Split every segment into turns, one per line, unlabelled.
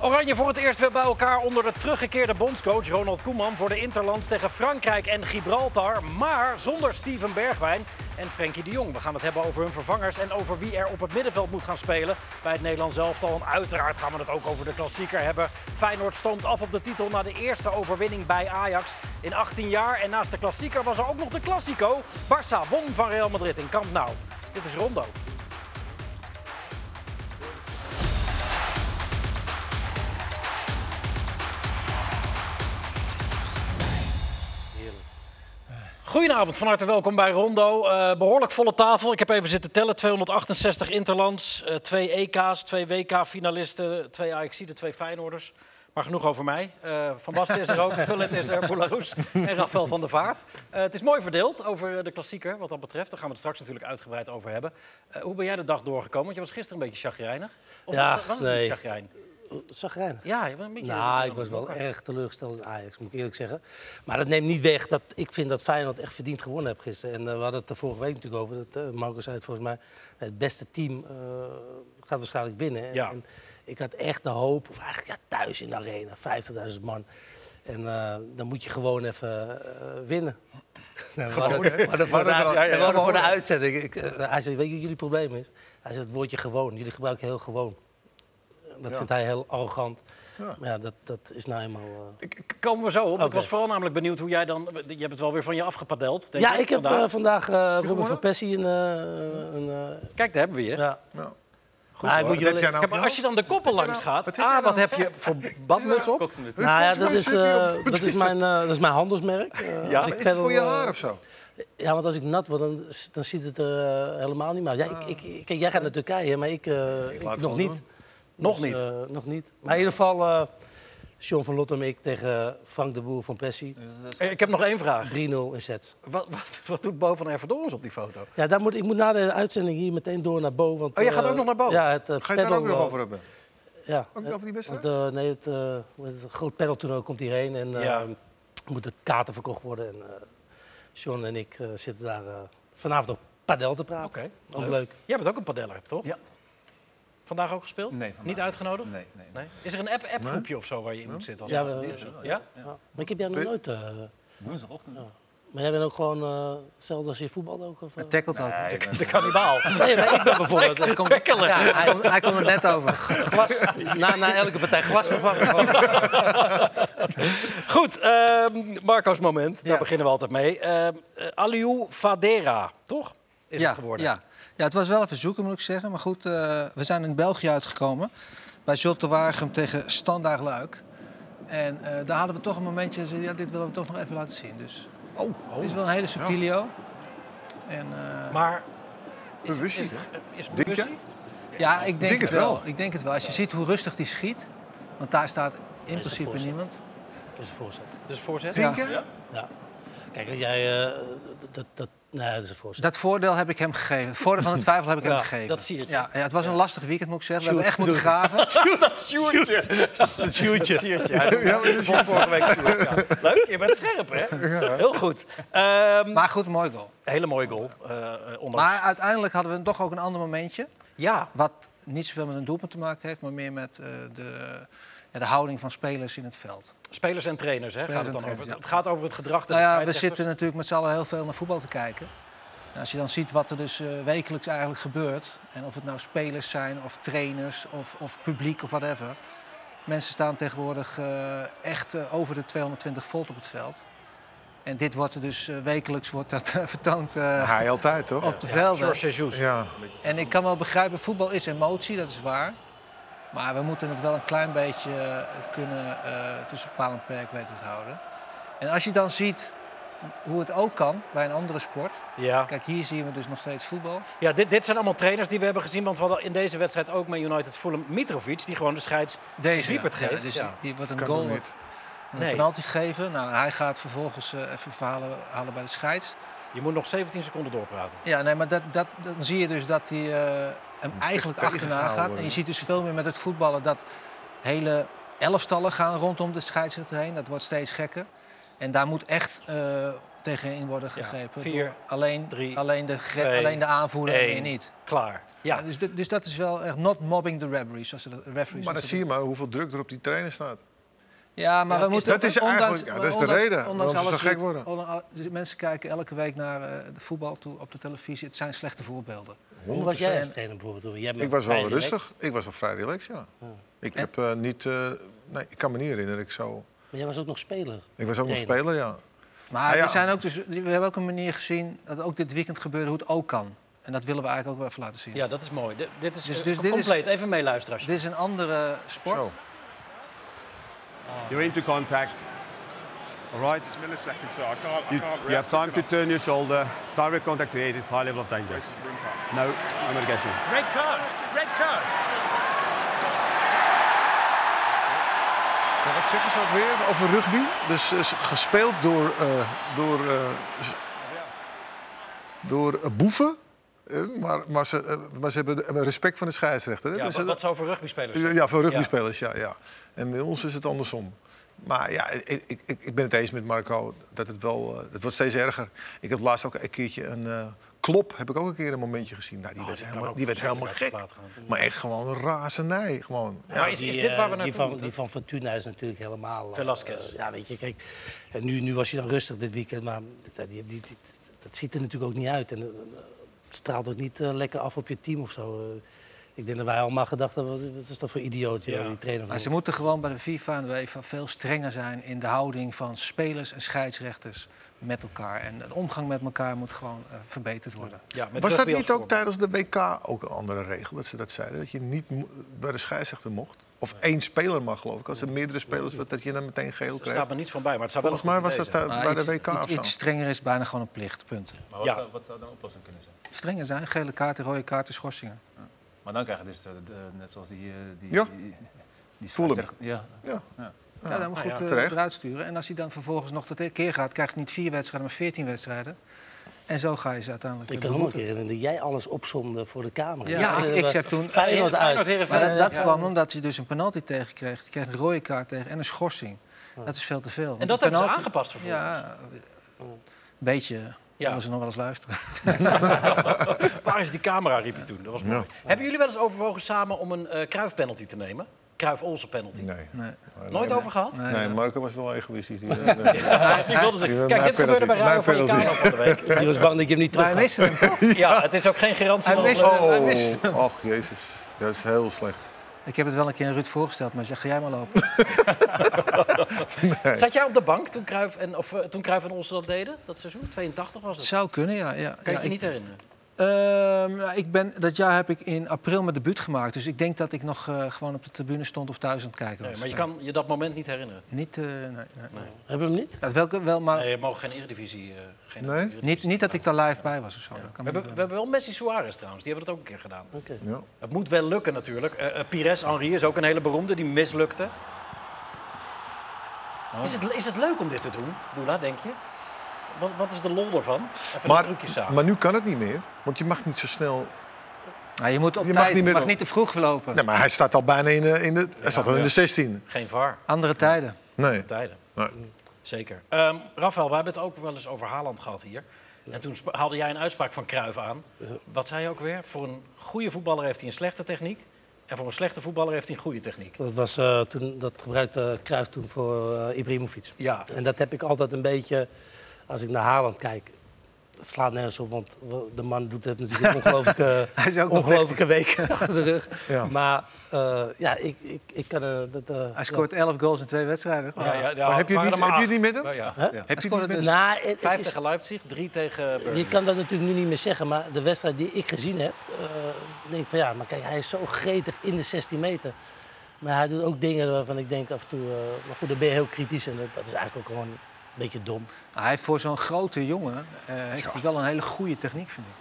Oranje voor het eerst weer bij elkaar onder de teruggekeerde bondscoach Ronald Koeman voor de Interlands tegen Frankrijk en Gibraltar. Maar zonder Steven Bergwijn en Frenkie de Jong. We gaan het hebben over hun vervangers en over wie er op het middenveld moet gaan spelen bij het Nederlands elftal. En uiteraard gaan we het ook over de klassieker hebben. Feyenoord stoomt af op de titel na de eerste overwinning bij Ajax in 18 jaar. En naast de klassieker was er ook nog de Classico. Barça won van Real Madrid in Camp Nou. Dit is Rondo. Goedenavond, van harte welkom bij Rondo. Eh, behoorlijk volle tafel. Ik heb even zitten tellen. 268 Interlands, eh, twee EK's, twee WK-finalisten, twee Ajaxiden, twee Feyenoorders. Maar genoeg over mij. Eh, van Basten is er ook, Gullit is er, Boularoes en Rafael van der Vaart. Eh, het is mooi verdeeld over eh, de klassieker wat dat betreft. Daar gaan we het straks natuurlijk uitgebreid over hebben. Eh, hoe ben jij de dag doorgekomen? Want je was gisteren een beetje chagrijnig. Of
Ja,
was, dat- was het
nee.
niet chagrijn?
Zagrijnig.
Ja, je was een beetje...
Nou, ik was wel erg teleurgesteld in Ajax, moet ik eerlijk zeggen. Maar dat neemt niet weg dat ik vind dat Feyenoord echt verdiend gewonnen heeft gisteren. En eh, we hadden het er vorige week natuurlijk over. Dat, eh, Marco zei het volgens mij, het beste team eh, gaat waarschijnlijk winnen. En-
Ja.
En ik had echt de hoop, of eigenlijk ja, thuis in de arena, 50.000 man. En eh, dan moet je gewoon even eh, winnen. Nee, we hadden- we hadden voor de-
Ja, ja, ja.
we hadden voor de uitzending. ik, eh, hij zei, weet je wat jullie probleem is? Hij zei, het woordje gewoon. Jullie gebruiken heel gewoon. Dat vindt hij heel arrogant. Ja, ja dat, dat is nou eenmaal... eh,
K- k- Komen we zo op. Ik
Oké.
was vooral namelijk benieuwd hoe jij dan... Je hebt het wel weer van je afgepadeld, denk
Ja, ik heb
vandaag.
eh, vandaag eh Robin van
gewonnen?
Persie een... eh, een eh,
Kijk, daar hebben we je.
ja.
Ja.
Goed, maar, moet je
Wat
wel
heb jij
even-
nou
Kijk, maar als je dan de koppen langs gaat,
Wat heb jij
ah, wat
nou?
heb je voor badmuts op?
Nou ja, dat
Komt mijn
is,
shirt niet
eh, dat, is mijn, eh, dat is mijn handelsmerk. Eh, als
Ja.
ik
Maar
Is het voor je
peddel, eh,
haar of zo?
Ja, want als ik nat word, dan, s- dan ziet het er eh, helemaal niet meer uit. Ja, ik, ik, kijk, jij gaat naar Turkije, maar ik, eh, ik
laat het
nog
gewoon
niet.
doen.
Nog
Dus,
niet.
eh, nog niet. Maar in ieder geval, eh John van Lottem en ik tegen Frank de Boer van Persie. 3-0
Eh, Ik heb nog één vraag.
in sets.
Wat, wat, wat doet Bo van Ervedoris op die foto?
Ja, daar moet, ik moet na de uitzending hier meteen door naar Bo. Want,
Oh, jij
eh,
gaat ook nog naar Bo?
Ja, het eh,
Ga je het daar
panel,
ook nog
eh,
over hebben?
Ja.
Ook nog over die
Want,
wedstrijd?
eh, nee, het, eh, hoe heet het groot paneltoernooi komt hierheen en eh,
Ja.
moet het kaarten verkocht worden. En eh John en ik eh, zitten daar eh, vanavond op padel te praten.
Oké.
Ook leuk.
Jij bent ook een padeller, toch?
Ja.
Vandaag ook gespeeld?
Nee, vandaag
Niet uitgenodigd?
Nee, nee.
Nee? Is er een app- app-groepje of zo waar je in moet zitten? Als
Ja,
het
we-
is?
wel,
ja?
Ja. Maar ik heb jij nog
Weet-
nooit... eh,
Woensdagochtend. Ja.
maar jij bent ook gewoon eh, hetzelfde als je voetbal ook? Of, eh?
Tackelt ook.
Nee, ik ben-
De kannibaal.
Nee, maar ik ben bijvoorbeeld...
Hij komt,
Tackelen.
Ja,
hij,
hij-
komt, hij komt er net over.
glas, na, na elke partij glas vervangen. gewoon.
Goed, ehm, Marco's moment. Daar
Ja.
beginnen we altijd mee. Ehm, eh, Aliou Fadera, toch? Is
ja,
het geworden.
Ja. ja, het was wel even zoeken, moet ik zeggen. Maar goed, eh, we zijn in België uitgekomen. Bij Job de Waregem tegen Standaard Luik. En eh, daar hadden we toch een momentje. dat we zeiden, Ja, dit willen we toch nog even laten zien. Dus
Oh,
het is wel een hele subtilio. En, eh,
Maar... Is,
Bewustie,
is, is, is
Denk je?
bewustie?
ja, ik denk,
denk
het
het
wel.
wel.
Ik denk het wel. Als je ziet hoe rustig die schiet. Want daar staat in principe
voorzet.
niemand.
Dat is een voorzet.
Dus voorzet?
Tinker?
Ja. Kijk, als jij... eh, dat, dat, nee, dat is een voorzet.
Dat voordeel heb ik hem gegeven. Het voordeel van de twijfel heb ik hem gegeven.
dat zie je.
Ja, ja, het was een lastig weekend, moet ik zeggen. We hebben echt moeten graven.
Dat shootje.
Ja, vorige week Sjoerd, ja. Leuk, je bent scherp, hè? Heel goed. Ehm,
Maar goed, mooi goal.
hele mooie goal. eh, eh, ondanks.
Maar uiteindelijk hadden we toch ook een ander momentje.
ja,
Wat niet zoveel met een doelpunt te maken heeft, maar meer met eh, de, ja, de houding van spelers in het veld.
spelers en trainers, hè, gaat
en
het dan
trainers,
over.
ja.
Het gaat over het gedrag.
Nou ja, we
scheidsrechters.
zitten natuurlijk met z'n allen heel veel naar voetbal te kijken. En als je dan ziet wat er dus eh, wekelijks eigenlijk gebeurt, en of het nou spelers zijn of trainers of, of publiek of whatever. Mensen staan tegenwoordig eh, echt eh, over de 220 volt op het veld. En dit wordt er dus eh, wekelijks wordt dat, eh, vertoond eh,
Hij altijd, toch?
op de velden.
George Jesus.
Ja.
En ik kan wel begrijpen, voetbal is emotie, dat is waar. Maar we moeten het wel een klein beetje eh, kunnen eh, tussen paal en perk weten te houden. En als je dan ziet hoe het ook kan bij een andere sport.
Ja,
Kijk, hier zien we dus nog steeds voetbal.
ja dit, dit zijn allemaal trainers die we hebben gezien. Want we hadden in deze wedstrijd ook met United Fulham Mitrovic... die gewoon de scheids de sweepert
Ja,
geeft.
dus
Ja.
die- Die wordt een
Kan
goal,
toch
wordt
niet?
een
Nee.
penalty geven. Nou, hij gaat vervolgens eh, even verhalen halen bij de scheids.
Je moet nog 17 seconden doorpraten.
Ja, nee, maar dat, dat, dan zie je dus dat hij eh, hem eigenlijk achterna
tegengehouden
gaat. En je
worden.
ziet dus veel meer met het voetballen dat hele elftallen gaan rondom de scheidsrechter heen. Dat wordt steeds gekker. En daar moet echt eh, tegenin worden
Ja,
gegrepen.
vier,
door alleen,
drie,
alleen, de gre-
twee,
alleen de aanvoerder en
Eén.
meer niet.
Klaar. Ja.
Ja, dus, dit- dus dat is wel echt not mobbing the referees. Zoals ze dat- referees
Maar
zoals
dan
ze
zie je maar hoeveel druk er op die trainer staat.
Ja, maar we moeten...
dat is
ondanks-
eigenlijk- ja, dat is de
ondanks-
reden waarom
Ondanks
ze
alles
zo gek
goed-
worden.
ondanks- dus mensen kijken elke week naar eh, de voetbal toe op de televisie. Het zijn slechte voorbeelden.
Hoe was jij als
100%.
trainer bijvoorbeeld? Roel? Jij bent
Ik was wel
vrij relaxed.
rustig. Ik was wel vrij relaxed, ja. Ik, heb, eh, niet, eh, nee, ik kan me niet herinneren. Ik, zo...
Maar jij was ook nog speler.
ik was ook nog
Trainer.
speler, ja.
Maar
Nou ja.
er zijn ook dus, we hebben ook een manier gezien dat ook dit weekend gebeurde hoe het ook kan. En dat willen we eigenlijk ook wel even laten zien.
ja, dat is mooi. Dit- dit is
Dus-
eh,
dus dit is-
compleet. Even meeluisteren als je
Dit is een andere sport.
Zo.
You're into contact. All right.
It's milliseconds, so I can't. I
You,
can't
you have
react
time to
quick
turn your shoulder. Direct contact to head is high level of danger.
enough. It's impact.
No, I'm going to guess you.
Red card. Red card.
Ja, wat zeggen ze ook weer over rugby? Dus eh, s- gespeeld door, eh, door, eh, s- door eh, boeven. Eh, maar, maar, ze, eh, maar ze hebben de- respect van de scheidsrechter. hè?
Ja,
Dus,
wat,
eh,
wat zou voor rugbyspelers zijn?
Ja, voor rugbyspelers, ja. ja. En bij ons is het andersom. Maar ja, ik, ik, ik ben het eens met Marco dat het wel... eh, het wordt steeds erger. Ik heb laatst ook een keertje een... eh, Klop heb ik ook een keer een momentje gezien. Nou, die werd
Oh, kan
helemaal,
ook
die werd helemaal
verschrikkelijk
gek.
uit de plaat gaan.
Maar echt gewoon een razernij. Gewoon. Ja,
Maar is, is
Die,
dit
eh,
waar we
die
naartoe
van,
moeten?
die van Fortuna is natuurlijk helemaal... eh,
Velasquez.
eh, ja, weet je, kijk. En nu, nu was hij dan rustig dit weekend, maar dat, eh, die, die- die- dat ziet er natuurlijk ook niet uit. En eh, het straalt ook niet eh, lekker af op je team of zo. Eh, ik denk dat wij allemaal gedacht hebben, wat, wat is dat voor idioot, joh,
Ja.
die trainer.
Maar ze moeten gewoon bij de FIFA en de UEFA veel strenger zijn in de houding van spelers en scheidsrechters met elkaar. En de omgang met elkaar moet gewoon eh, verbeterd worden.
Ja, met
Was dat
rugby als
niet ook
voorbeeld.
tijdens de WK ook een andere regel? Dat ze dat zeiden? Dat je niet mo- bij de scheidsrechter mocht? Of één speler mag, geloof ik. Als er meerdere spelers werd, dat je dan meteen geel
Er staat
kreeg.
me niets van bij, maar het zou wel
Volgens mij was
daar.
dat tij-
Maar
bij
Ah, iets,
de WK
iets,
of zo.
iets strenger is bijna gewoon een plicht, punt.
Maar wat,
Ja.
zou, wat zou dan de oplossing kunnen zijn?
Strenger zijn, gele kaarten, rode kaarten, schorsingen.
Maar dan krijg je dus, eh, de- net zoals die... eh, die
Ja.
die, die
Fulham.
scheidsrechter- Ja,
Ja.
Ja, dan moet je goed eh,
terecht.
eruit sturen. En als hij dan vervolgens nog de keer gaat, krijgt hij niet vier wedstrijden, maar veertien wedstrijden. En zo ga je ze uiteindelijk
Ik
weer
kan me ook
beboeten.
herinneren dat jij alles opzomde voor de camera.
Ja,
Dat
ik-
deden
ik
we
heb toen-
Feyenoord
Feyenoord,
uit.
Heerenveen.
Maar dat, dat
Ja.
kwam omdat hij dus een penalty tegen kreeg. Hij kreeg een rode kaart tegen en een schorsing. Dat is veel te veel. want
Oh. En dat
een
hebben ze
penalty-
aangepast vervolgens.
Ja, een beetje.
Ja.
Moeten ze nog wel eens luisteren.
Waar is die camera, riep je toen. Dat was mooi. Hebben jullie wel eens overwogen samen om een eh Kruif-penalty te nemen? Kruif-Olsen-penalty.
Nee.
Nee.
Nooit over gehad?
Nee, Marco was wel egoïstisch. Die, eh, nee.
Ik wilde zeggen,
Nee,
kijk, dit
penalty.
gebeurde bij Radio
Nee,
van de
penalty.
van de week.
Die was bang dat je hem niet
Maar
terug
hij miste hem. toch?
Ja, het is ook geen garantie
Hij
van een
miste hem, hij
Oh,
miste hem.
Och, jezus. Dat is heel slecht.
Ik heb het wel een keer aan Ruud voorgesteld, maar hij zegt, ga jij maar lopen.
Zat jij op de bank toen Kruif en, of, eh, toen Kruif en Olsen dat deden? Dat seizoen? 82 was
Het
het.
zou kunnen, ja. ja,
Kan je
ja
je
ik-
niet herinneren?
Ehm, nou, ik ben, dat jaar heb ik in april mijn debuut gemaakt. Dus ik denk dat ik nog eh, gewoon op de tribune stond of thuis aan het kijken was.
Nee, maar je kan je dat moment niet herinneren.
Niet, eh, nee, nee.
Hebben we hem niet?
Dat wel, wel, maar
Nee, je mag geen eredivisie... eh, geen
Nee?
eredivisie.
niet, niet dat ik daar live bij was of zo. Dat kan
We
me
hebben,
niet
we hebben wel Messi Suarez trouwens, die hebben dat ook een keer gedaan.
Ja.
Het moet wel lukken natuurlijk. Eh, eh, Pires Henri is ook een hele beroemde, die mislukte. Is, het, is het leuk om dit te doen, Boela, denk je? Wat, wat is de lol ervan? Even maar, trucjes
Maar,
samen.
maar nu kan het niet meer. Want je mag niet zo snel...
Nou, je moet op
Je mag
tijd,
niet
je
meer
mag
op-
niet te vroeg lopen.
Nee, maar hij staat al bijna in de, in de, hij staat al in de 16.
Geen VAR,
Andere tijden.
Nee.
tijden.
Nee.
Zeker. Ehm Rafael, we hebben het ook wel eens over Haaland gehad hier. En toen sp- haalde jij een uitspraak van Cruijff aan. Wat zei je ook weer? Voor een goede voetballer heeft hij een slechte techniek. En voor een slechte voetballer heeft hij een goede techniek.
Dat, was, eh, toen, dat gebruikte Cruijff toen voor eh Ibrahimovic.
Ja,
En dat heb ik altijd een beetje, als ik naar Haaland kijk, het slaat nergens op, want de man doet het natuurlijk een ongelooflijke,
Hij is ook nog
ongelooflijke week achter de rug.
Ja.
Maar eh, ja, ik, ik, ik kan... eh, dat, eh,
Hij scoort 11 goals in twee wedstrijden.
ja, ja, ja,
Maar heb je
het waren er
het niet- heb je het
maar
niet met hem?
acht. Nou ja.
Hè?
Heb je
scoorde
die met-
dus-
Nou, het- het
Vijf
is-
tegen Leipzig, drie tegen
je
Burnley.
kan dat natuurlijk nu niet meer zeggen, maar de wedstrijd die ik gezien heb, eh, denk ik van ja, maar kijk, hij is zo gretig in de 16 meter. Maar hij doet ook dingen waarvan ik denk af en toe, eh, maar goed, dan ben je heel kritisch en dat, dat is eigenlijk ook gewoon een beetje dom.
Hij heeft voor zo'n grote jongen eh, heeft hij wel een hele goede techniek, vind ik.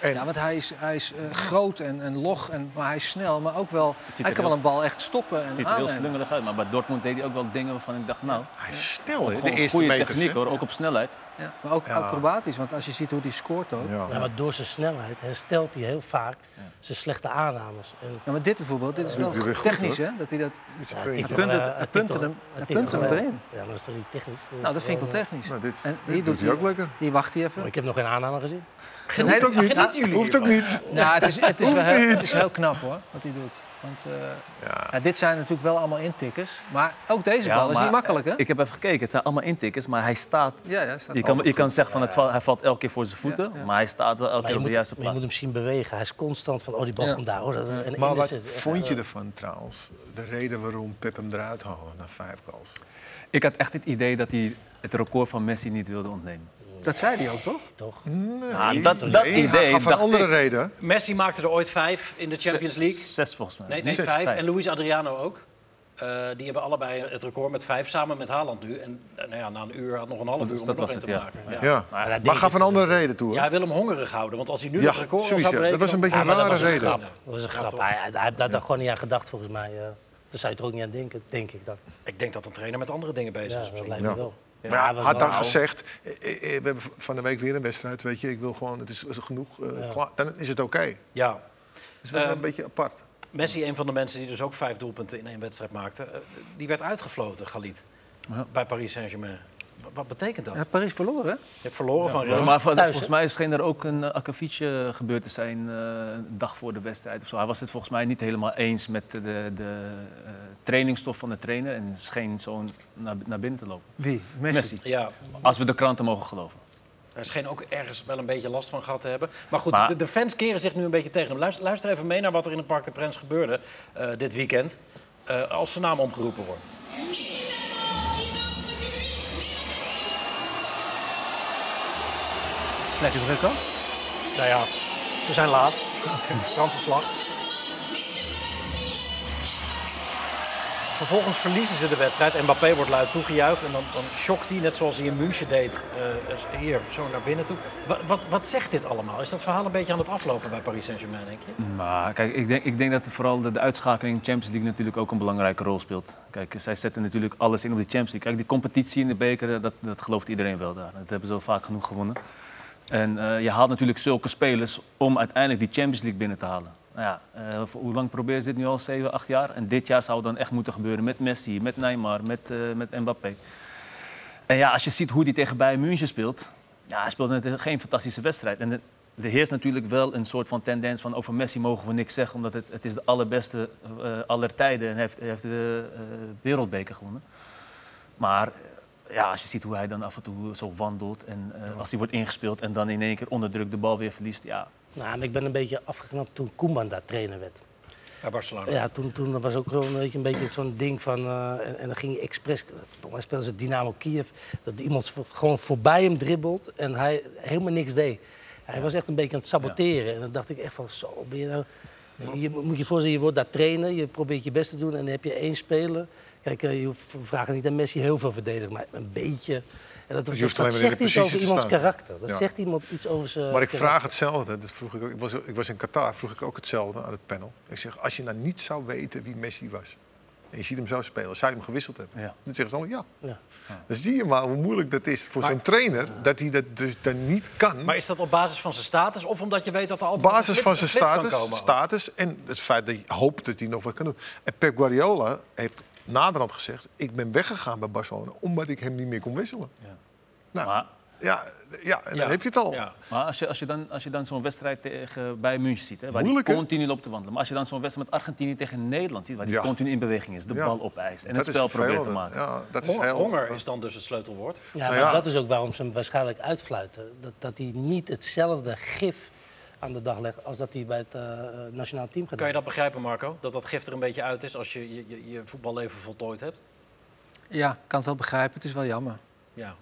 En
Ja, want hij is, hij is eh, groot en, en log, en, maar hij is snel. Maar ook wel,
ziet
hij
er
kan
heel-
wel een bal echt stoppen
Het
en
ziet er heel
aannemen.
slungelig uit, maar bij Dortmund deed hij ook wel dingen waarvan ik dacht, nou,
hij is snel, hè? De
gewoon
eerste
goede
meters,
techniek
hè?
hoor, ook op snelheid.
Ja, maar ook acrobatisch, want als je ziet hoe hij scoort ook. Ja.
Ja.
Ja, maar door zijn snelheid herstelt hij heel vaak zijn slechte aannames. En,
maar dit bijvoorbeeld, dit is wel
doet hij weer goed,
technisch,
hoor.
hè? Dat hij dat...
Met zijn
ja,
puntje.
tikt
punten-
wel, eh,
hij
tikt
punten
wel-
hem-
hij
hij
tikt
punten
wel,
hem
eh,
erin.
Ja, maar dat is toch niet technisch? is
Nou, dat vind ik
gewoon,
wel technisch.
Nou, dit-
en
dit doet hij ook lekker.
Hier wacht hij even.
eh, Ik heb nog geen aanname gezien.
Geniet
Hoeft ook niet.
Genieten jullie
Hoeft ook
hiervan?
niet.
Nou, het is, het is wel
Hoeft
heel,
niet.
het is heel knap hoor, wat hij doet. Want, eh,
Ja.
nou, dit zijn natuurlijk wel allemaal intikkers. Maar ook deze
Ja,
bal is
maar, eh,
niet makkelijk, hè?
Ik heb even gekeken, het zijn allemaal intikkers, maar hij staat...
ja, ja, staat
Je kan, je kan zeggen van het val- hij valt elke keer voor zijn voeten,
Ja, ja.
maar hij staat wel elke
Maar
keer
je,
op de
moet,
juiste
maar je
plaats.
moet hem zien bewegen. Hij is constant van, oh, die bal
Ja.
komt daar. Hoor. Dat- En
Maar wat
Ines is echt,
vond je
eh,
ervan trouwens? De reden waarom Pep hem eruit haalde na vijf goals.
Ik had echt het idee dat hij het record van Messi niet wilde ontnemen.
Dat zei hij ook, toch?
Toch?
Nou, dat dat
Nee, hij
idee
gaf een
dacht
andere
ik-
reden.
Messi maakte er ooit vijf in de Champions League.
Zes volgens mij.
Nee, nee,
Zes,
vijf. En Luis Adriano ook. Eh, die hebben allebei het record met vijf samen met Haaland nu. En eh, nou ja, na een uur had nog een half
Dus
uur om er
dat
nog
was
in te
het, ja.
maken. Ja.
Ja.
Maar dat
Maar
deed
gaf
hij
een andere reden toe.
Ja,
Hoor.
hij wil hem hongerig houden. want als hij nu
Ja,
het record al zou
sowieso.
breken...
Dat was een
dan-
beetje een
maar dat
rare
was een
reden.
grap.
nou-
Dat was een grap.
toch.
Hij, hij, hij heeft daar dan gewoon niet aan gedacht, volgens mij. eh. Daar zou je toch ook niet aan denken, denk ik dan.
Ik denk dat een trainer met andere dingen bezig
Ja,
is.
dat
misschien.
lijkt me
Ja.
wel.
Maar
hij
ja,
was
had
wel
dan
oud.
gezegd, eh, eh, eh, we hebben v- van de week weer een wedstrijd, weet je, ik wil gewoon, het is genoeg, eh, klaar, dan is het oké.
Ja. Ehm,
Dus dat is wel een beetje apart.
Messi, een van de mensen die dus ook vijf doelpunten in één wedstrijd maakte... eh, die werd uitgefloten, Galit, bij Paris Saint-Germain. Wat, wat betekent dat?
Ja, Parijs verloren, hè?
Je hebt verloren van Real.
Maar vol-
Thuis,
volgens mij scheen er ook een uh, gebeurd te zijn eh, een dag voor de wedstrijd of zo. Hij was het volgens mij niet helemaal eens met de, de eh, trainingsstof van de trainer en scheen zo naar, naar binnen te lopen.
Wie? Messi.
Messi.
Ja,
Als we de kranten mogen geloven.
Hij scheen ook ergens wel een beetje last van gehad te hebben. Maar goed,
Maar-
de, de fans keren zich nu een beetje tegen hem. Luister, luister even mee naar wat er in het Parc de Prins gebeurde eh, dit weekend. eh, als zijn naam omgeroepen wordt.
Slechte druk ook.
Nou ja, ze zijn laat.
Franse slag. Vervolgens verliezen ze de wedstrijd. en Mbappé wordt luid toegejuicht. En dan, dan shockt hij, net zoals hij in München deed, eh, hier zo naar binnen toe. Wat, wat, wat zegt dit allemaal? Is dat verhaal een beetje aan het aflopen bij Paris Saint-Germain, denk je?
Maar kijk, ik denk, ik denk dat vooral de, de uitschakeling in de Champions League natuurlijk ook een belangrijke rol speelt. Kijk, zij zetten natuurlijk alles in op de Champions League. Kijk, die competitie in de beker, eh, dat, dat gelooft iedereen wel daar. Dat hebben ze al vaak genoeg gewonnen. En eh, je haalt natuurlijk zulke spelers om uiteindelijk die Champions League binnen te halen. Nou ja, eh, voor- hoe lang proberen ze dit nu al? 7, 8 jaar? En dit jaar zou het dan echt moeten gebeuren met Messi, met Neymar, met, eh, met Mbappé. En ja, als je ziet hoe hij tegen Bayern München speelt... Ja, hij speelt net geen fantastische wedstrijd. En het- er heerst natuurlijk wel een soort van tendens van... over Messi mogen we niks zeggen, omdat het, het is de allerbeste eh, aller tijden... en hij heeft, hij heeft de eh, wereldbeker gewonnen. Maar eh, ja, als je ziet hoe hij dan af en toe zo wandelt... en eh, als hij wordt ingespeeld en dan in één keer onder druk de bal weer verliest... ja,
Nou, maar ik ben een beetje afgeknapt toen Koeman daar trainer werd.
Bij Barcelona.
Ja, toen, toen was ook zo'n beetje, een beetje zo'n ding van... eh, en, en dan ging hij expres... Volgens mij speelden ze Dynamo Kiev. Dat iemand vo- gewoon voorbij hem dribbelt en hij helemaal niks deed. Hij was echt een beetje aan het saboteren. En dan dacht ik echt van, zo, ben je nou... Je moet je voorstellen, je wordt daar trainen, je probeert je best te doen en dan heb je één speler. Kijk, eh, je hoeft, we vragen niet aan Messi heel veel verdedigen, maar een beetje. En dat,
hoeft
dat
alleen maar in de
zegt iets
positie
over
te
iemands
staan.
karakter. Dat
Ja.
zegt iemand iets over zijn
Maar ik
karakter.
vraag hetzelfde. Dat vroeg ik, ook. Ik, was, ik was in Qatar, vroeg ik ook hetzelfde aan het panel. Ik zeg, als je nou niet zou weten wie Messi was... en je ziet hem zo spelen, zou je hem gewisseld hebben?
Ja.
Dan zeggen ze allemaal ja.
Ja.
Dan zie je maar hoe moeilijk dat is voor zo'n trainer... dat hij dat dus dan niet kan.
Maar is dat op basis van zijn status of omdat je weet dat er
op
altijd een
basis
flits-
van
een
zijn
flits kan
status,
komen?
status en het feit dat je hoopt dat hij nog wat kan doen. En Pep Guardiola heeft naderhand gezegd... ik ben weggegaan bij Barcelona omdat ik hem niet meer kon wisselen. Ja, nou,
maar...
ja, ja en
Ja.
dan heb je het al.
Ja.
Maar als je, als je dan, als je dan zo'n wedstrijd tegen bij München ziet, hè, waar hij
Moeilijk, hè?
continu loopt te wandelen. Maar als je dan zo'n wedstrijd met Argentinië tegen Nederland ziet, waar hij
Ja.
continu in beweging is, de
Ja.
bal opeist en
Dat
het
is
spel probeert te
vervelend.
maken.
Ja, dat is
Honger,
heel...
honger is dan dus het sleutelwoord.
Ja, maar
Nou ja.
dat is ook waarom ze hem waarschijnlijk uitfluiten. Dat, dat hij niet hetzelfde gif aan de dag legt als dat hij bij het eh, nationaal team gedaan
Kan je dat begrijpen, Marco? Dat dat gif er een beetje uit is als je je, je, je voetballeven voltooid hebt?
Ja, ik kan het wel begrijpen. Het is wel jammer.
Ja.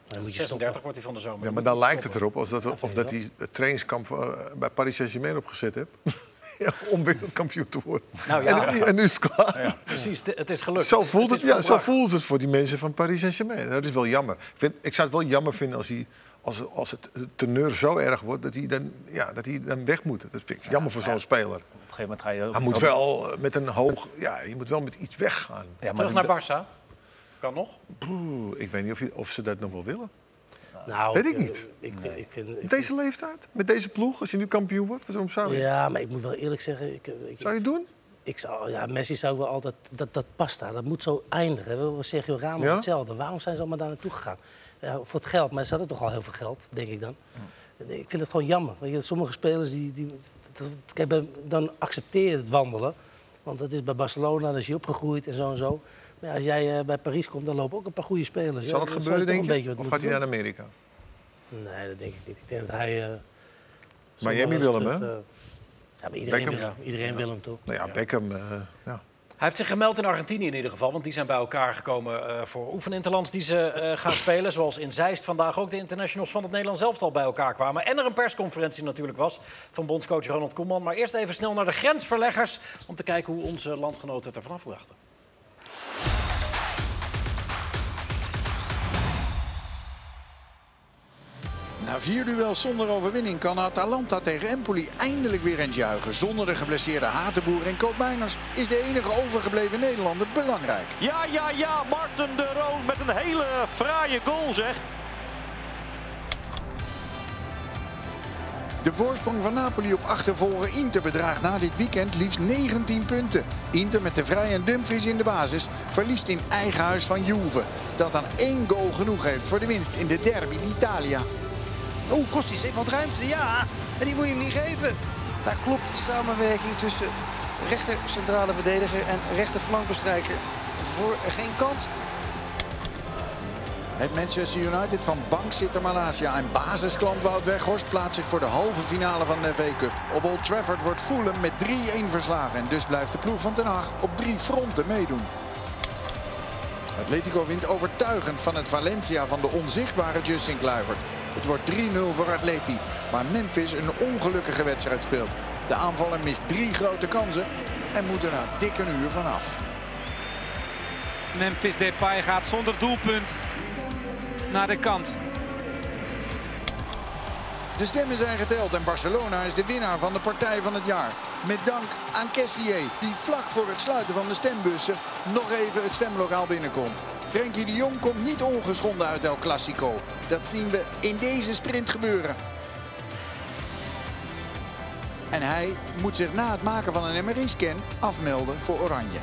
heeft. Dan moet je stoppen.
36 wordt hij van de zomer.
Ja, maar dan lijkt het erop als dat, of
vind
dat
ik
hij het trainingskamp eh, bij Paris Saint-Germain opgezet hebt. ja, om wereldkampioen te worden.
Nou ja,
En, en nu is het klaar.
precies. T- Het is gelukt.
Zo voelt het,
is
ja, zo
volbracht.
voelt het voor die mensen van Paris Saint-Germain. Nou, Dat is wel jammer. Ik, vind, ik zou het wel jammer vinden als, hij, als, als het teneur zo erg wordt dat hij dan, ja, dat hij dan weg moet. Dat vind ik jammer voor zo'n speler.
Op een gegeven moment ga je...
Hij moet wel eh, met een hoog, ja, je moet wel met iets weggaan.
Ja, maar
Terug naar Barça. Kan nog.
Oeh, ik weet niet of, je- of ze dat nog wel willen.
Nou,
Weet ik
eh,
niet.
Ik, vind- ik vind, ik
Met deze leeftijd, met deze ploeg, als je nu kampioen wordt, waarom zou je?
Ja, maar ik moet wel eerlijk zeggen, ik, eh, ik,
Zou je het doen?
ik zou, ja, Messi zou ik wel altijd, dat, dat past daar, dat moet zo eindigen. We Sergio Ramos
Ja?
hetzelfde. Waarom zijn ze allemaal daar naartoe gegaan? Ja, voor het geld, maar ze hadden toch al heel veel geld, denk ik dan. Ik vind het gewoon jammer. Weet je, sommige spelers die, die dat, kijk, bij- dan accepteer je het wandelen, want dat is bij Barcelona, daar is je opgegroeid en zo en zo. Maar ja, als jij eh, bij Paris komt, dan lopen ook een paar goede spelers.
Zal
Ja,
dat
dan
gebeuren,
zou
denk
je toch
je?
een beetje wat
Of gaat
moeten
hij naar Amerika?
doen. Nee, dat denk ik niet. Ik denk dat hij. eh, zo wel
Miami
eens
wil hem,
terug,
hè?
eh, ja, maar iedereen,
Beckham.
wil, hem. iedereen wil hem toch?
Nou ja, Beckham, eh, ja.
Hij heeft zich gemeld in Argentinië in ieder geval, want die zijn bij elkaar gekomen eh, voor oefeninterlands die ze eh, gaan spelen. Zoals in Zeist vandaag ook de internationals van het Nederlands elftal bij elkaar kwamen. En er een persconferentie natuurlijk was van bondscoach Ronald Koeman. Maar eerst even snel naar de grensverleggers om te kijken hoe onze landgenoten het ervan afbrachten.
Na vier duels zonder overwinning kan Atalanta tegen Empoli eindelijk weer eens juichen. Zonder de geblesseerde Hatenboer en Koopmeiners is de enige overgebleven Nederlander belangrijk.
Ja, ja, ja, Martin de Roon met een hele fraaie goal zeg.
De voorsprong van Napoli op achtervolger Inter bedraagt na dit weekend liefst 19 punten. Inter met de Vrij en Dumfries in de basis verliest in eigen huis van Juve. Dat aan één goal genoeg heeft voor de winst in de derby d'Italia.
Oeh, Oh, Kostis heeft wat ruimte. Ja, en die moet je hem niet geven. Daar klopt de samenwerking tussen rechter centrale verdediger en rechter flankbestrijker voor geen kant.
Het Manchester United van bankzitter Malasia en basisklant Wout Weghorst plaatst zich voor de halve finale van de FA Cup. Op Old Trafford wordt Fulham met 3-1 verslagen en dus blijft de ploeg van Den Haag op drie fronten meedoen. Atletico wint overtuigend van het Valencia van de onzichtbare Justin Kluivert. Het wordt 3-0 voor Atleti, maar Memphis een ongelukkige wedstrijd speelt. De aanvaller mist drie grote kansen en moet er na dikke uur vanaf.
Memphis Depay gaat zonder doelpunt naar de kant.
De stemmen zijn geteld en Barcelona is de winnaar van de partij van het jaar. Met dank aan Kessier, die vlak voor het sluiten van de stembussen nog even het stemlokaal binnenkomt. Frenkie de Jong komt niet ongeschonden uit El Clasico. Dat zien we in deze sprint gebeuren. En hij moet zich na het maken van een MRI-scan afmelden voor Oranje.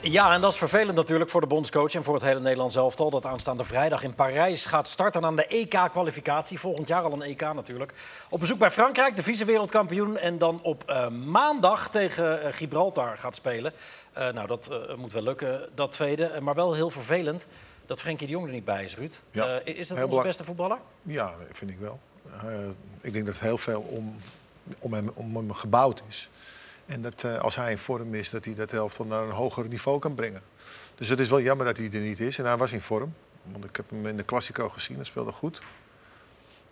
Ja, en dat is vervelend natuurlijk voor de bondscoach en voor het hele Nederlands elftal. Dat aanstaande vrijdag in Parijs gaat starten aan de EK-kwalificatie. Volgend jaar al een EK natuurlijk. Op bezoek bij Frankrijk, de vice-wereldkampioen. En dan op eh, maandag tegen eh, Gibraltar gaat spelen. Eh, nou, dat eh, moet wel lukken, dat tweede. Eh, maar wel heel vervelend dat Frenkie de Jong er niet bij is, Ruud.
Ja,
Eh,
heel
is dat onze
belangrijk.
beste voetballer?
Ja, vind ik wel. Eh, ik denk dat heel veel om, om, hem, om hem gebouwd is. En dat eh, als hij in vorm is, dat hij dat elftal naar een hoger niveau kan brengen. Dus het is wel jammer dat hij er niet is. En hij was in vorm. Want ik heb hem in de Classico gezien, hij speelde goed.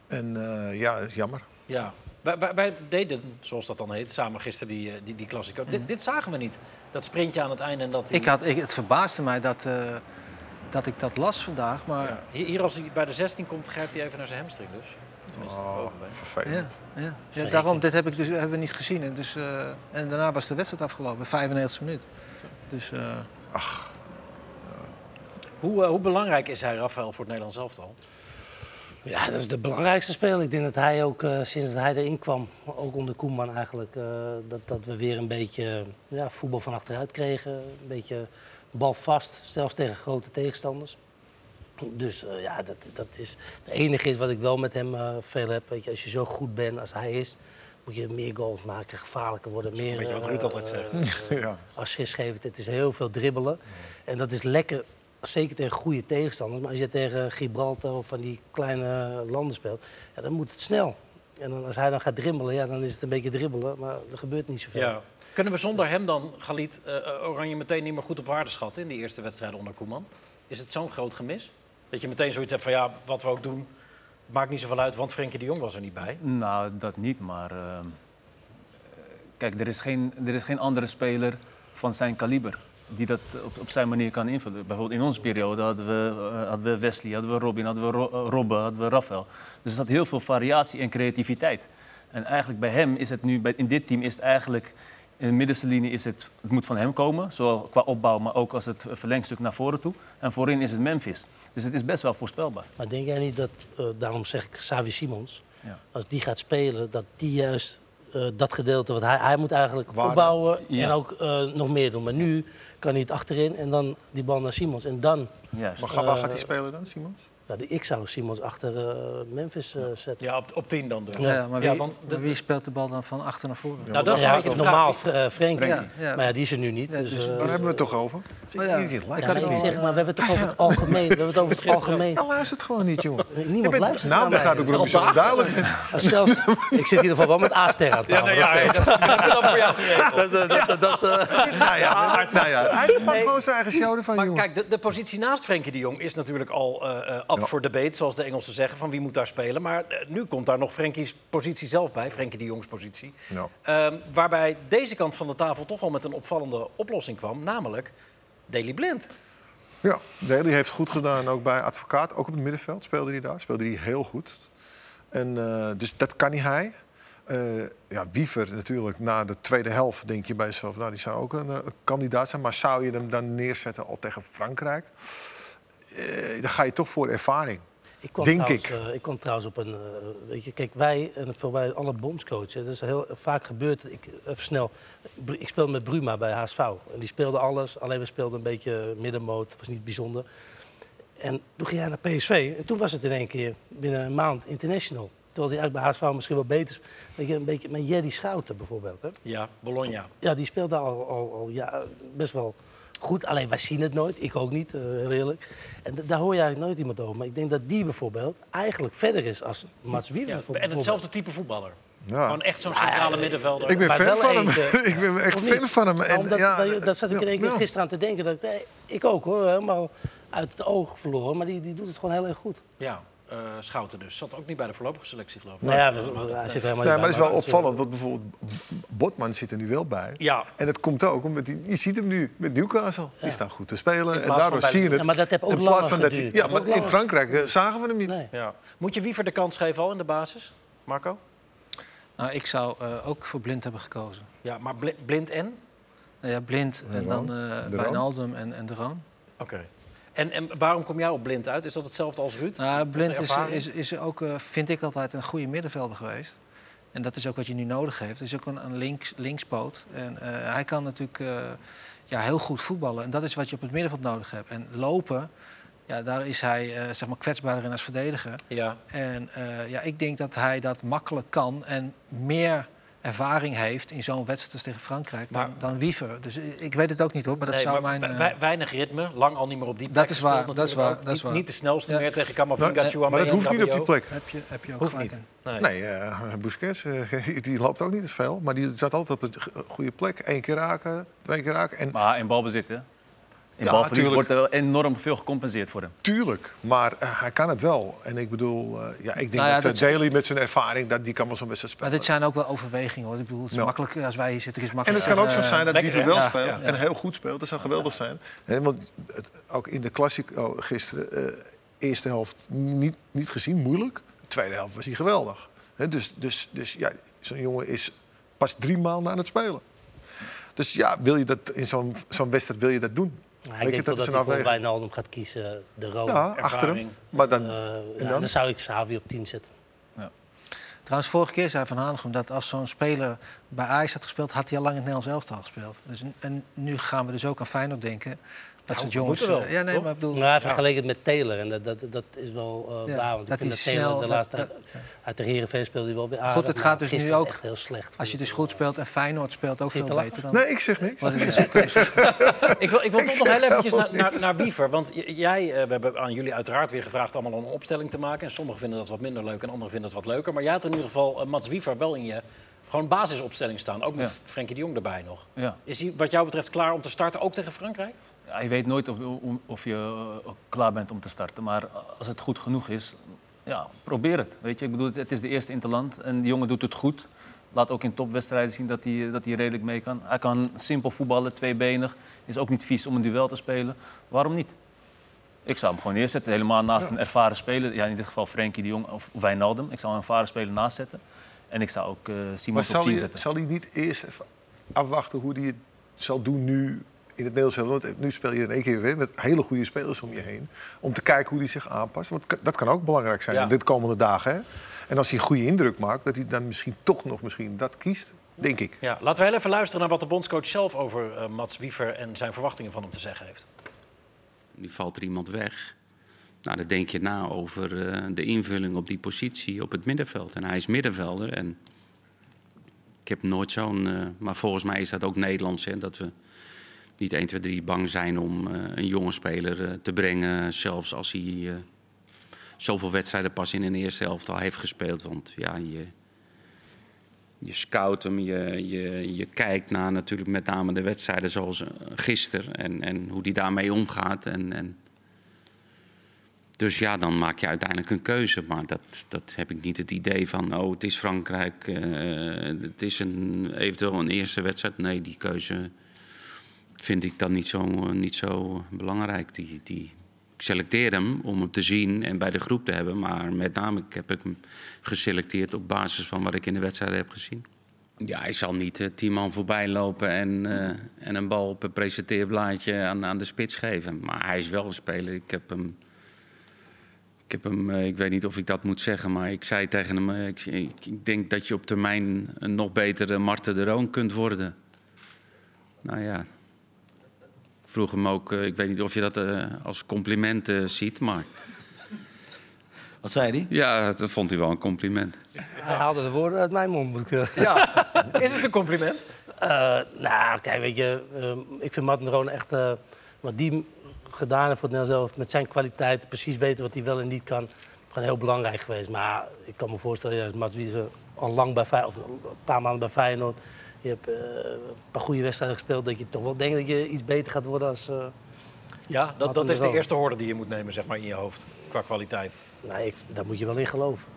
En eh, ja, het is jammer.
Ja. Wij, wij- wij deden, zoals dat dan heet, samen gisteren die, eh, die, die klassieker. Dit, dit zagen we niet. Dat sprintje aan het einde en dat...
Ik had, ik, het verbaasde mij dat, eh, dat ik dat las vandaag, maar...
Ja, Hier, hier als hij bij de 16 komt, grijpt hij even naar zijn hamstring dus. Of Tenminste,
Oh,
bovenbeen.
vervelend.
Ja, ja. ja daarom, dit heb ik dus, hebben we niet gezien. En, dus, eh, en daarna was de wedstrijd afgelopen, 95 minuut. Dus eh,
Hoe, eh, hoe belangrijk is hij, Rafael, voor het Nederlands elftal?
Ja, dat is de belangrijkste speler. Ik denk dat hij ook eh, sinds dat hij erin kwam, ook onder Koeman eigenlijk, eh, dat, dat we weer een beetje eh, ja, voetbal van achteruit kregen. Een beetje balvast, zelfs tegen grote tegenstanders. Dus eh, ja, dat, dat is het enige is wat ik wel met hem eh, veel heb. Weet je, als je zo goed bent als hij is, moet je meer goals maken, gevaarlijker worden. Meer,
beetje wat
eh,
Ruud altijd zegt.
eh, eh, Assists geven, het is heel veel dribbelen. En dat is lekker, zeker tegen goede tegenstanders. Maar als je tegen Gibraltar of van die kleine landen speelt, ja, dan moet het snel. En dan, als hij dan gaat dribbelen, ja, dan is het een beetje dribbelen, maar er gebeurt niet zoveel.
Ja. Kunnen we zonder hem dan, Galit, eh, eh, Oranje meteen niet meer goed op waarde schatten in die eerste wedstrijd onder Koeman? Is het zo'n groot gemis? Dat je meteen zoiets hebt van, ja, wat we ook doen, Maakt niet zoveel uit, want Frenkie de Jong was er niet bij.
Nou, dat niet, maar... ehm, kijk, er is, geen, er is geen andere speler van zijn kaliber die dat op, op zijn manier kan invullen. Bijvoorbeeld in onze periode hadden we, eh, hadden we Wesley, hadden we Robin, hadden we Ro- eh, Robben, hadden we Rafael. Dus er zat heel veel variatie en creativiteit. En eigenlijk bij hem is het nu, bij, in dit team is het eigenlijk... In de middenste linie is het, het moet van hem komen, zowel qua opbouw, maar ook als het verlengstuk naar voren toe. En voorin is het Memphis. Dus het is best wel voorspelbaar.
Maar denk jij niet dat, eh, daarom zeg ik Xavi Simons,
Ja.
als die gaat spelen, dat die juist eh, dat gedeelte, wat hij, hij moet eigenlijk opbouwen
Ja.
en ook eh, nog meer doen. Maar nu kan hij het achterin en dan die bal naar Simons. En dan,
Juist.
Maar ga- waar gaat hij
Eh,
spelen dan, Simons?
ja, de- ik zou Simons achter eh, Memphis eh, zetten.
Ja, op, op tien dan dus.
Ja, maar wie,
Ja, want de-
maar wie speelt de bal dan van achter naar voren?
Nou, dat is
ja,
eigenlijk de vraag.
normaal Fre- eh, Frenkie.
Ja, ja.
Maar ja, die is er nu niet.
Ja,
dus,
dus-
eh,
Daar hebben we het toch over?
Maar ja,
Iedereen lijkt
Oh, ja,
het
maar ik
niet.
zeg maar, we hebben het toch over het algemeen. We hebben het over het algemeen.
Ja, luister het gewoon niet, jongen.
Niemand
Je bent,
luistert
nou,
naar
begrijp
mij.
ik waarom je zo duidelijk bent.
Als Zelfs, ik zit in ieder geval wel met A-ster aan
Ja,
tafel.
nee, ja,
dat
nee,
is-
dat, dat is dan voor jou geregeld.
eh,
Nou ja, nou ja, hij maakt gewoon zijn eigen show ervan,
Maar
jongen.
kijk, de, de positie naast Frenkie de Jong is natuurlijk al eh eh, up
Ja.
for debate, zoals de Engelsen zeggen, van wie moet daar spelen. Maar eh, nu komt daar nog Frenkie's positie zelf bij, Frenkie de Jongs positie.
Ja.
Ehm, waarbij deze kant van de tafel toch wel met een opvallende oplossing kwam, namelijk Daily Blind.
Ja, Daley heeft goed gedaan ook bij Advocaat. Ook op het middenveld speelde hij daar. Speelde hij heel goed. En, eh, dus dat kan niet hij. Eh, ja, Wiever natuurlijk, na de tweede helft denk je bij jezelf... nou, die zou ook een eh, kandidaat zijn. Maar zou je hem dan neerzetten al tegen Frankrijk? Eh, dan ga je toch voor ervaring.
Ik kwam
Denk
trouwens,
ik.
eh, ik kwam trouwens op een. eh, weet je, kijk, wij en voor wij alle bondscoaches, dat is heel vaak gebeurd. Ik, even snel. Bru- Ik speelde met Bruma bij HSV. En die speelde alles, alleen we speelden een beetje middenmoot. Het was niet bijzonder. En toen ging hij naar PSV. En toen was het in één keer binnen een maand international. Terwijl hij eigenlijk bij HSV misschien wel beter is. Weet je, een beetje met Jerry Schouten bijvoorbeeld. Hè?
Ja, Bologna.
Ja, die speelde al, al, al ja, best wel goed. Alleen wij zien het nooit. Ik ook niet, eh, heel eerlijk. En d- daar hoor je eigenlijk nooit iemand over. Maar ik denk dat die bijvoorbeeld eigenlijk verder is als Mats Wiever.
Ja,
bijvoorbeeld.
en hetzelfde type voetballer.
Ja.
Gewoon echt zo'n centrale middenvelder.
Ik ben
Maar
fan
wel
van hem.
eentje.
ik ben echt
Of niet?
fan van hem.
Maar omdat,
ja,
dat, dat zat ik
ja,
in één keer
ja.
gisteren aan te denken. Dat ik, nee, ik ook hoor, helemaal uit het oog verloren. Maar die, die doet het gewoon heel erg goed.
Ja, eh, Schouten dus. Zat ook niet bij de voorlopige selectie, geloof ik.
Nou ja, we- we- hij zit er helemaal
Nee,
niet
maar
bij,
dat is wel
dat eh,
opvallend, want bijvoorbeeld Botman zit er nu wel bij.
Ja.
En dat komt ook, omdat hij, je ziet hem nu met Newcastle. Die staat goed te spelen en
plaats
daardoor
van bij-
zie je het.
Ja, maar dat heeft ook
in plaats
langer
van dat hij-
geduurd.
ja,
Dat
maar
heeft ook
in Frankrijk eh, zagen we hem niet.
Nee.
Ja. Moet je Wiever de kans geven al in de basis, Marco?
Nou, ik zou eh, ook voor blind hebben gekozen.
Ja, maar Bli- blind en?
Nou ja, blind en dan eh
Roon.
Wijnaldum en, en de Roon.
Oké. En, en waarom kom jij op blind uit? Is dat hetzelfde als Ruud?
Nou, Blind is,
ervaring?
is, is ook, eh, vind ik altijd, een goede middenvelder geweest. En dat is ook wat je nu nodig heeft. Het is ook een, een links, linkspoot. En eh, hij kan natuurlijk eh, ja, heel goed voetballen. En dat is wat je op het middenveld nodig hebt. En lopen, ja, daar is hij eh, zeg maar kwetsbaarder in als verdediger.
Ja.
En eh, ja, ik denk dat hij dat makkelijk kan en meer ervaring heeft in zo'n wedstrijd als tegen Frankrijk dan,
Maar-
dan Wiever. Dus eh, ik weet het ook niet hoor, maar dat
Nee,
zou
maar
mijn...
we-
eh,
we- weinig ritme, lang al niet meer op die
Dat
plek
is waar,
gespeeld
dat is
natuurlijk
waar,
ook.
dat is
Niet-
waar.
Niet de snelste
Ja.
meer tegen Camavinga,
Nee,
Chouameni
Nou, eh, Maar dat
en
hoeft niet op die
Rabiot.
plek.
heb, je, heb je ook
Hoeft
gelijk
niet.
in.
Nee.
Nee, eh, Busquets, eh, die loopt ook niet te veel. Maar die zat altijd op de g- eh, goede plek. Eén keer raken, twee keer raken. En
Maar in balbezit, hè? In
Ja,
balverlies
tuurlijk.
wordt er wel enorm veel gecompenseerd voor hem.
tuurlijk, maar eh, hij kan het wel. En ik bedoel, eh, ja, ik denk
Nou ja,
dat,
dat-
Daly met zijn ervaring, dat, die kan wel zo'n wedstrijd
Maar
spelen.
dit zijn ook wel overwegingen hoor. Ik bedoel, het is
Ja.
makkelijk eh, als wij hier zitten. Is het
En het
makkelijk
kan
Eh,
ook zo
zeggen,
zijn dat
lekker,
Wiever
hè?
wel
Ja,
ja.
speelt en heel goed speelt. Dat zou geweldig zijn. Hè, want het- ook in de Classico gisteren, eh, eerste helft niet, niet gezien, moeilijk. Tweede helft was hij geweldig. Hè, dus dus, dus ja, zo'n jongen is pas drie maanden aan het spelen. Dus ja, wil je dat in zo'n zo'n wedstrijd wil je dat doen?
Maar
Weet
ik
je,
denk wel
is
dat
een
hij voor
afweging.
Wijnaldum gaat kiezen, eh, de Roon.
Ja, achter hem. Maar dan,
Eh, ja,
dan?
dan zou ik Xavi op 10 zetten.
Trouwens, vorige keer zei Van Hanegem dat als zo'n speler bij Ajax had gespeeld, had hij al lang in het Nederlands elftal gespeeld. Dus, n- en nu gaan we dus ook aan Feyenoord denken. Dat soort jongens.
moeten wel,
eh, ja, nee,
toch?
maar ik bedoel.
Nou, vergeleken het met Taylor. En dat, dat, dat is wel eh
Ja,
waar. Want
dat
ik vind
hij
dat Taylor
snel-
de
dat-
laatste
dat-
uit- uit de Heerenveen speelde hij wel weer aardig.
Goed, het
maar
gaat dus nu
gisteren
ook-
echt heel slecht.
Als je dus goed speelt en Feyenoord speelt ook
Zit
veel
te lachen?
beter dan.
Nee, ik zeg niks.
Wat het is ook keuze.
Ik wil, ik wil
Ik
toch nog
zeg
heel eventjes
helemaal
naar, naar, naar Wiever. Want j- jij, eh, we hebben aan jullie uiteraard weer gevraagd allemaal een opstelling te maken. En sommigen vinden dat wat minder leuk en anderen vinden dat wat leuker. Maar jij had in ieder geval eh, Mats Wiever wel in je gewoon basisopstelling staan. Ook met
Ja.
Frenkie de Jong erbij nog.
Ja.
Is hij wat jou betreft klaar om te starten, ook tegen Frankrijk?
Ja, je weet nooit of, om- of je eh, klaar bent om te starten. Maar als het goed genoeg is, eh,
ja, probeer het. Weet je? Ik bedoel, het- het is de eerste interland en die jongen doet het goed. Laat ook in topwedstrijden zien dat hij, eh, dat hij redelijk mee kan. Hij kan simpel voetballen, tweebenig. Is ook niet vies om een duel te spelen. Waarom niet? Ik zou hem gewoon neerzetten, helemaal naast een ervaren speler. Ja, in dit geval Frenkie de Jong of Wijnaldum. Ik zou een ervaren speler naast zetten. En ik zou ook eh
Maar
Simons op
zal
10
hij,
zetten.
zal hij niet eerst even afwachten hoe hij het zal doen nu in het Nederlands elftal? Want nu speel je in één keer weer met hele goede spelers om je heen. Om te kijken hoe hij zich aanpast. Want k- dat kan ook belangrijk zijn
Ja.
in dit komende dagen. Hè? En als hij een goede indruk maakt, dat hij dan misschien toch nog misschien dat kiest. Denk ik.
Ja, laten we heel even luisteren naar wat de bondscoach zelf over eh, Mats Wiever en zijn verwachtingen van hem te zeggen heeft.
Nu valt er iemand weg. Nou, dan denk je na over eh, de invulling op die positie op het middenveld. En hij is middenvelder. En ik heb nooit zo'n. eh, maar volgens mij is dat ook Nederlands. Hè, dat we niet 1, 2, 3 bang zijn om eh, een jonge speler eh, te brengen. Zelfs als hij eh, zoveel wedstrijden pas in een eerste helft al heeft gespeeld. Want ja, je, je scout hem, je, je, je kijkt naar natuurlijk met name de wedstrijden zoals eh, gisteren en, en hoe die daarmee omgaat. En, en dus ja, dan maak je uiteindelijk een keuze. Maar dat, dat heb ik niet het idee van, oh, het is Frankrijk, eh, het is een, eventueel een eerste wedstrijd. Nee, die keuze vind ik dan niet zo, eh, niet zo belangrijk. Die, die, ik selecteer hem om hem te zien en bij de groep te hebben. Maar met name ik heb ik hem geselecteerd op basis van wat ik in de wedstrijd heb gezien. Ja, hij zal niet eh, tien man voorbij lopen en, eh, en een bal op een presenteerblaadje aan, aan de spits geven. Maar hij is wel een speler. Ik heb hem... Ik heb hem, eh, ik weet niet of ik dat moet zeggen, maar ik zei tegen hem, eh, ik, ik, ik denk dat je op termijn een nog betere Marten de Roon kunt worden. Nou ja, ik vroeg hem ook, eh, ik weet niet of je dat eh, als compliment eh, ziet, maar... Wat zei hij? Ja, dat vond hij wel een compliment.
Hij haalde de woorden uit mijn mond. Moet ik,
ja. Is het een compliment?
nou, kijk, weet je, eh, ik vind Martin de Roon echt... eh, wat die gedaan heeft voor het Nederlands zelf, met zijn kwaliteit... precies weten wat hij wel en niet kan, gewoon heel belangrijk geweest. Maar ik kan me voorstellen, ja, Mats Wieser al lang bij Feyenoord... of een paar maanden bij Feyenoord... je hebt eh, een paar goede wedstrijden gespeeld... dat je toch wel denkt dat je iets beter gaat worden als... eh,
Ja, dat,
Laten
dat
we
is de
wel.
eerste hoorde die je moet nemen zeg maar, in je hoofd, qua kwaliteit.
Nee, nou, ik, daar moet je wel in geloven.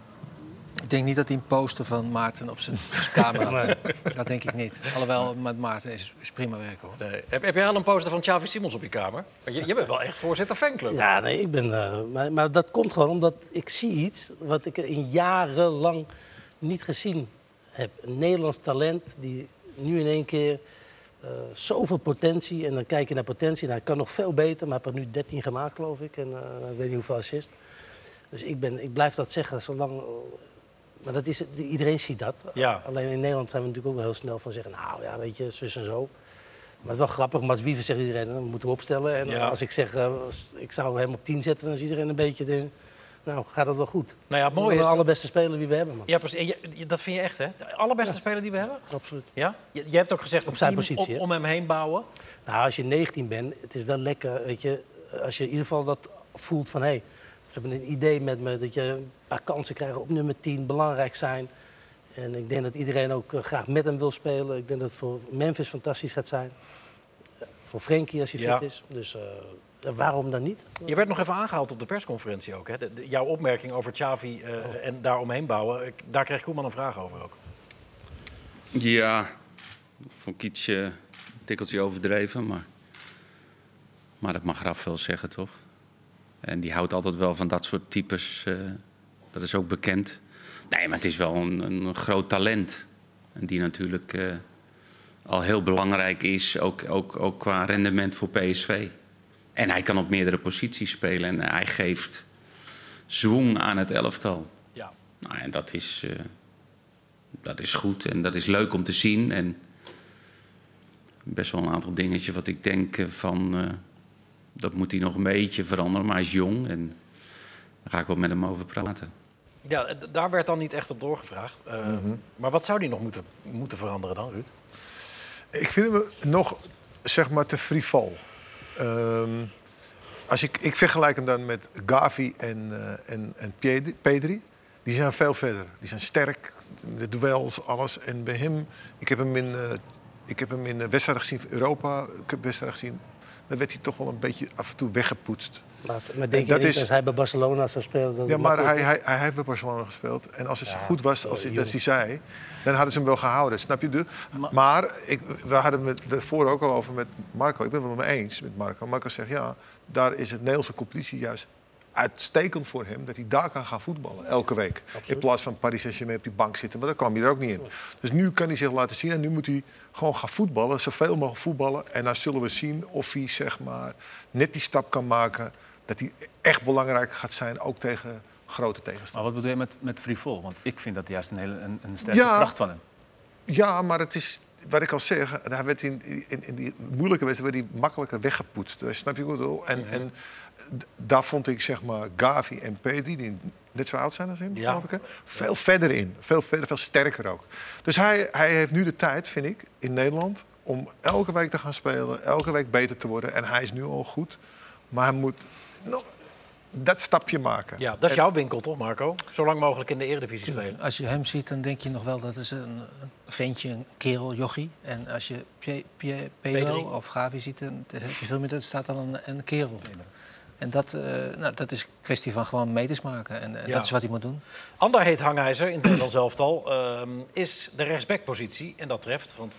Ik denk niet dat hij een poster van Maarten op zijn, op zijn kamer had.
Nee.
Dat denk ik niet. Alhoewel, met Maarten is, is prima werken hoor.
Nee. Heb, heb jij al een poster van Xavi Simons op je kamer? Want Je, je bent wel echt voorzitter fanclub.
Ja, nee, ik ben. eh, maar, maar dat komt gewoon omdat ik zie iets wat ik in jarenlang niet gezien heb. Een Nederlands talent die nu in één keer eh, zoveel potentie. En dan kijk je naar potentie. Nou, hij kan nog veel beter, maar hij heeft er nu 13 gemaakt, geloof ik. En eh, ik weet niet hoeveel assist. Dus ik, ben, ik blijf dat zeggen zolang. eh, Maar dat is, het, iedereen ziet dat.
Ja.
Alleen in Nederland zijn we natuurlijk ook wel heel snel van zeggen: Nou ja, weet je, zus en zo. Maar het is wel grappig, Mats Wiever zegt iedereen, dan moeten we opstellen. En
Ja.
als ik zeg, eh, als ik zou hem op 10 zetten, dan is iedereen een beetje, de, nou gaat dat wel goed.
Nou ja, het mooie
We
is
de
dat-
allerbeste speler die we hebben, man.
Ja, precies. En je- je- dat vind je echt, hè? De allerbeste speler die we hebben?
Absoluut.
Ja? Je, je hebt ook gezegd op
zijn
team,
positie,
om-
hè?
om hem heen bouwen.
Nou, als je 19 bent, het is wel lekker, weet je, als je in ieder geval dat voelt van, hé, ze hebben een idee met me, dat je een paar kansen krijgt op nummer 10, belangrijk zijn. En ik denk dat iedereen ook eh, graag met hem wil spelen. Ik denk dat het voor Memphis fantastisch gaat zijn. Eh, Voor Frenkie als hij
Ja.
fit is. Dus eh, waarom dan niet?
Je werd nog even aangehaald op de persconferentie ook. Hè? De- de- jouw opmerking over Xavi eh,
Oh.
en daaromheen bouwen, ik- daar kreeg Koeman een vraag over ook.
Ja, vond ik iets eh, tikkeltje overdreven, maar, maar dat mag Raf wel zeggen, toch? En die houdt altijd wel van dat soort types, eh, dat is ook bekend. Nee, maar het is wel een, een groot talent. En die natuurlijk eh, al heel belangrijk is, ook, ook, ook qua rendement voor PSV. En hij kan op meerdere posities spelen en hij geeft zwoen aan het elftal.
Ja.
Nou, en dat is... eh, dat is goed en dat is leuk om te zien. En best wel een aantal dingetjes wat ik denk eh, van... eh, dat moet hij nog een beetje veranderen, maar hij is jong. En daar ga ik wel met hem over praten.
Ja, eh, d- daar werd dan niet echt op doorgevraagd. Eh,
Mhm.
Maar wat zou die nog moeten, moeten veranderen dan, Ruud?
Ik vind hem nog zeg maar te frival. Ehm, als ik, ik vergelijk hem dan met Gavi en, eh, en, en Pied- Pedri. Die zijn veel verder. Die zijn sterk. De duels, alles. En bij hem, ik heb hem in, eh, ik heb hem in eh, wedstrijden gezien, Europa Cup wedstrijden gezien. Dan werd hij toch wel een beetje af en toe weggepoetst.
Maar, maar denk je
dat
dat
is-
als hij bij Barcelona zou spelen... Dat
Ja,
het
maar
makkelijk
hij,
is?
hij, hij heeft bij Barcelona gespeeld. En als het zo goed was als hij,
jongen.
dat hij zei, dan hadden ze hem wel gehouden. Snap je? Dus- Maar ik, we hadden het daarvoor ook al over met Marco. Ik ben het wel mee eens met Marco. Marco zegt, ja, daar is het Nederlandse competitie juist uitstekend voor hem... dat hij daar kan gaan voetballen, elke week. In plaats van Paris Saint-Germain op die bank zitten. Maar daar kwam hij er ook niet in. Dus nu kan hij zich laten zien en nu moet hij gewoon gaan voetballen. Zoveel mogelijk voetballen. En dan zullen we zien of hij, zeg maar, net die stap kan maken... dat hij echt belangrijk gaat zijn, ook tegen grote tegenstanders.
Maar wat bedoel je met, met free fall? Want ik vind dat juist een, hele, een, een sterke
Ja.
kracht van hem.
Ja, maar het is, wat ik al zeg, hij werd in, in, in die moeilijke wedstrijd werd hij makkelijker weggepoetst. Eh, Snap je goed? hoor? En, en d- daar vond ik zeg maar Gavi en Pedri, die net zo oud zijn als hem, geloof ik, hè, veel verder in. Veel verder, veel sterker ook. Dus hij, hij heeft nu de tijd, vind ik, in Nederland, om elke week te gaan spelen, elke week beter te worden. En hij is nu al goed, maar hij moet nog dat stapje maken.
Ja, dat is jouw winkel toch, Marco? Zo lang mogelijk in de Eredivisie spelen.
Als je hem ziet, dan denk je nog wel dat is een een ventje, een kerel, jochie. En als je Pie- Pie- Pedro
Pedri.
of Gavi ziet, dan heb je veel meer dat er staat dan een, een kerel. En dat, eh, nou, dat is kwestie van gewoon meters maken. En eh,
Ja.
dat is wat hij moet doen.
Ander heet hangijzer in het Nederlands elftal ehm, is de rechtsbackpositie. En dat treft, want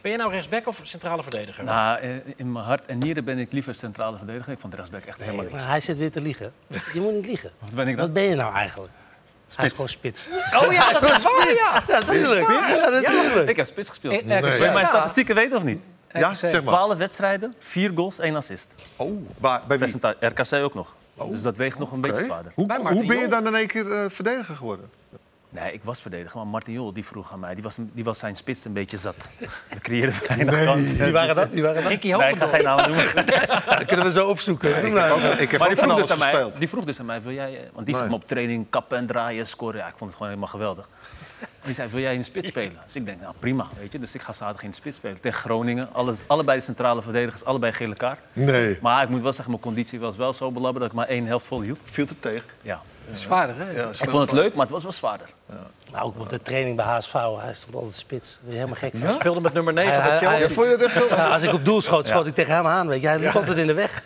ben je nou rechtsback of centrale verdediger?
Nou, eh, in mijn hart en nieren ben ik liever centrale verdediger. Ik vond rechtsback echt helemaal niks.
Maar hij zit weer te liegen. Je moet niet liegen. Wat
ben ik dan?
Wat ben je nou eigenlijk? Hij is gewoon spits.
Oh ja, dat is waar, ja.
Ja, natuurlijk. Ja, natuurlijk.
Ik heb spits gespeeld.
Eh, ergens-
Wil je mijn
Ja.
statistieken weten of niet?
Ja, zeg maar.
12 wedstrijden, 4 goals, 1 assist.
Oh, waar- bij wie?
Percentage- RKC ook nog. Dus dat weegt nog een beetje
Oh, Oké.
zwaarder.
Bij
Hoe,
Martin
hoe ben je
Jong.
dan in één keer eh, verdediger geworden?
Nee, ik was verdediger, maar Martin Jol die vroeg aan mij. Die was, die was zijn spits een beetje zat. We creëerden weinig kansen.
Wie waren dat? Wie waren dat?
Ricky
Nee, ik ga
Hogendoorn.
geen namen noemen.
Dat kunnen we zo opzoeken.
Ik
Doe
heb
maar.
ook, ik heb
maar
ook van
die vroeg,
alles
dus aan mij,
gespeeld.
die vroeg dus aan mij, wil jij... eh, Want die zag
Nee.
me op training kappen en draaien, scoren. Ja, ik vond het gewoon helemaal geweldig. Die zei, wil jij in de spits spelen? Dus ik denk, nou prima, weet je. Dus ik ga zaterdag in de spits spelen. Tegen Groningen, alles, allebei de centrale verdedigers, allebei gele kaart.
Nee.
Maar ik moet wel zeggen, mijn conditie was wel zo belabberd dat ik maar één helft vol hield.
Viel te tegen.
Ja.
Het is zwaarder, hè?
Ik vond het leuk, maar het was wel zwaarder.
Nou, ook op de training bij HSV, hij stond altijd spits. Dat is helemaal gek.
Hij speelde met nummer 9
Eh,
Hij-
bij
hij-
Chelsea.
hij-
Vond je dat echt zo?
Ja, als ik op doel schoot, schoot ik tegen hem aan. Weet je. Hij liep altijd in de weg.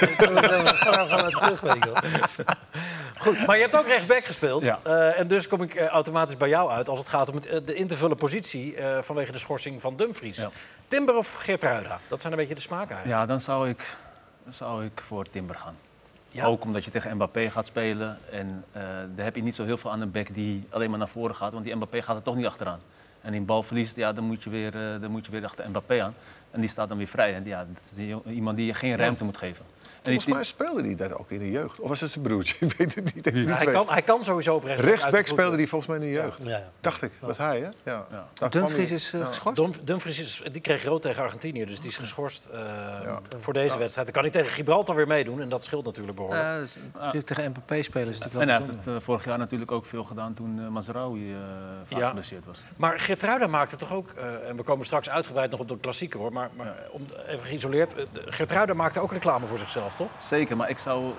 Ga naar terug, weet je wel.
Goed, maar je hebt ook rechtsback gespeeld.
Ja.
Eh, en dus kom ik eh, automatisch bij jou uit als het gaat om het, eh, de in te vullen positie eh, vanwege de schorsing van Dumfries.
Ja.
Timber of Geertruida? Dat zijn een beetje de smaken eigenlijk.
Ja, dan zou ik, dan zou ik voor Timber gaan.
Ja.
Ook omdat je tegen Mbappé gaat spelen. En eh, daar heb je niet zo heel veel aan een back die alleen maar naar voren gaat. Want die Mbappé gaat er toch niet achteraan. En in balverlies, ja, dan, moet je weer, eh, dan moet je weer achter Mbappé aan. En die staat dan weer vrij. En ja, dat is die jo- iemand die je geen ruimte moet geven. En die-
Volgens mij speelde hij dat ook in de jeugd. Of was het zijn broertje? Ik weet het niet. Ik weet
hij,
het
kan,
niet.
hij kan sowieso op rechtsback.
Rechtsback
uit de voeten.
speelde hij volgens mij in de jeugd.
Ja, ja.
Dacht ik. Dat hij, hè? Ja. Daar kwam
Dumfries
hij.
is eh, geschorst.
Dum- Dumfries is, die kreeg rood tegen Argentinië, dus die is geschorst eh, voor deze wedstrijd. Dan kan hij tegen Gibraltar weer meedoen en dat scheelt natuurlijk behoorlijk.
Ja, dat is- natuurlijk tegen MPP spelen is natuurlijk wel
en hij heeft
bijzonder.
het eh, vorig jaar natuurlijk ook veel gedaan toen eh Mazraoui eh, vaak
Ja.
geblesseerd was.
Maar Gertruida maakte toch ook, eh, en we komen straks uitgebreid nog op de klassieker hoor, maar, maar om, even geïsoleerd, eh, de- Gertruida maakte ook reclame voor zichzelf, toch?
Zeker, maar ik zou eh,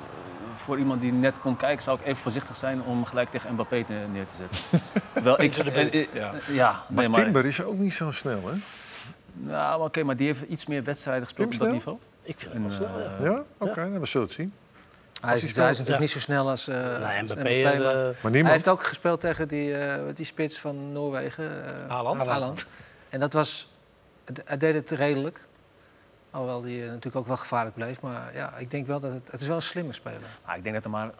voor iemand die net kon kijken, zou ik even voorzichtig zijn om gelijk tegen Mbappé te- neer te zetten. Wel, ik,
Into the bit,
eh, eh,
ja.
ja, nee,
Maar Timber is ook niet zo snel, hè?
Nou, oké, maar die heeft iets meer wedstrijden gespeeld op dat
Timber
niveau.
Ik vind het wel snel, ja.
Ja? Oké, nou, we zullen het zien.
Hij is, hij is
speelt,
natuurlijk niet zo snel als, eh
Nou,
als
Mbappé,
Mbappé, maar-
eh,
Maar
Hij
niemand...
heeft ook gespeeld tegen die, eh, die spits van Noorwegen. eh,
Haaland.
En dat was... het- Hij deed het redelijk. Alhoewel die eh, natuurlijk ook wel gevaarlijk bleef. Maar ja, ik denk wel dat het... Het is wel een slimme speler.
Ah, ik denk dat er maar eh,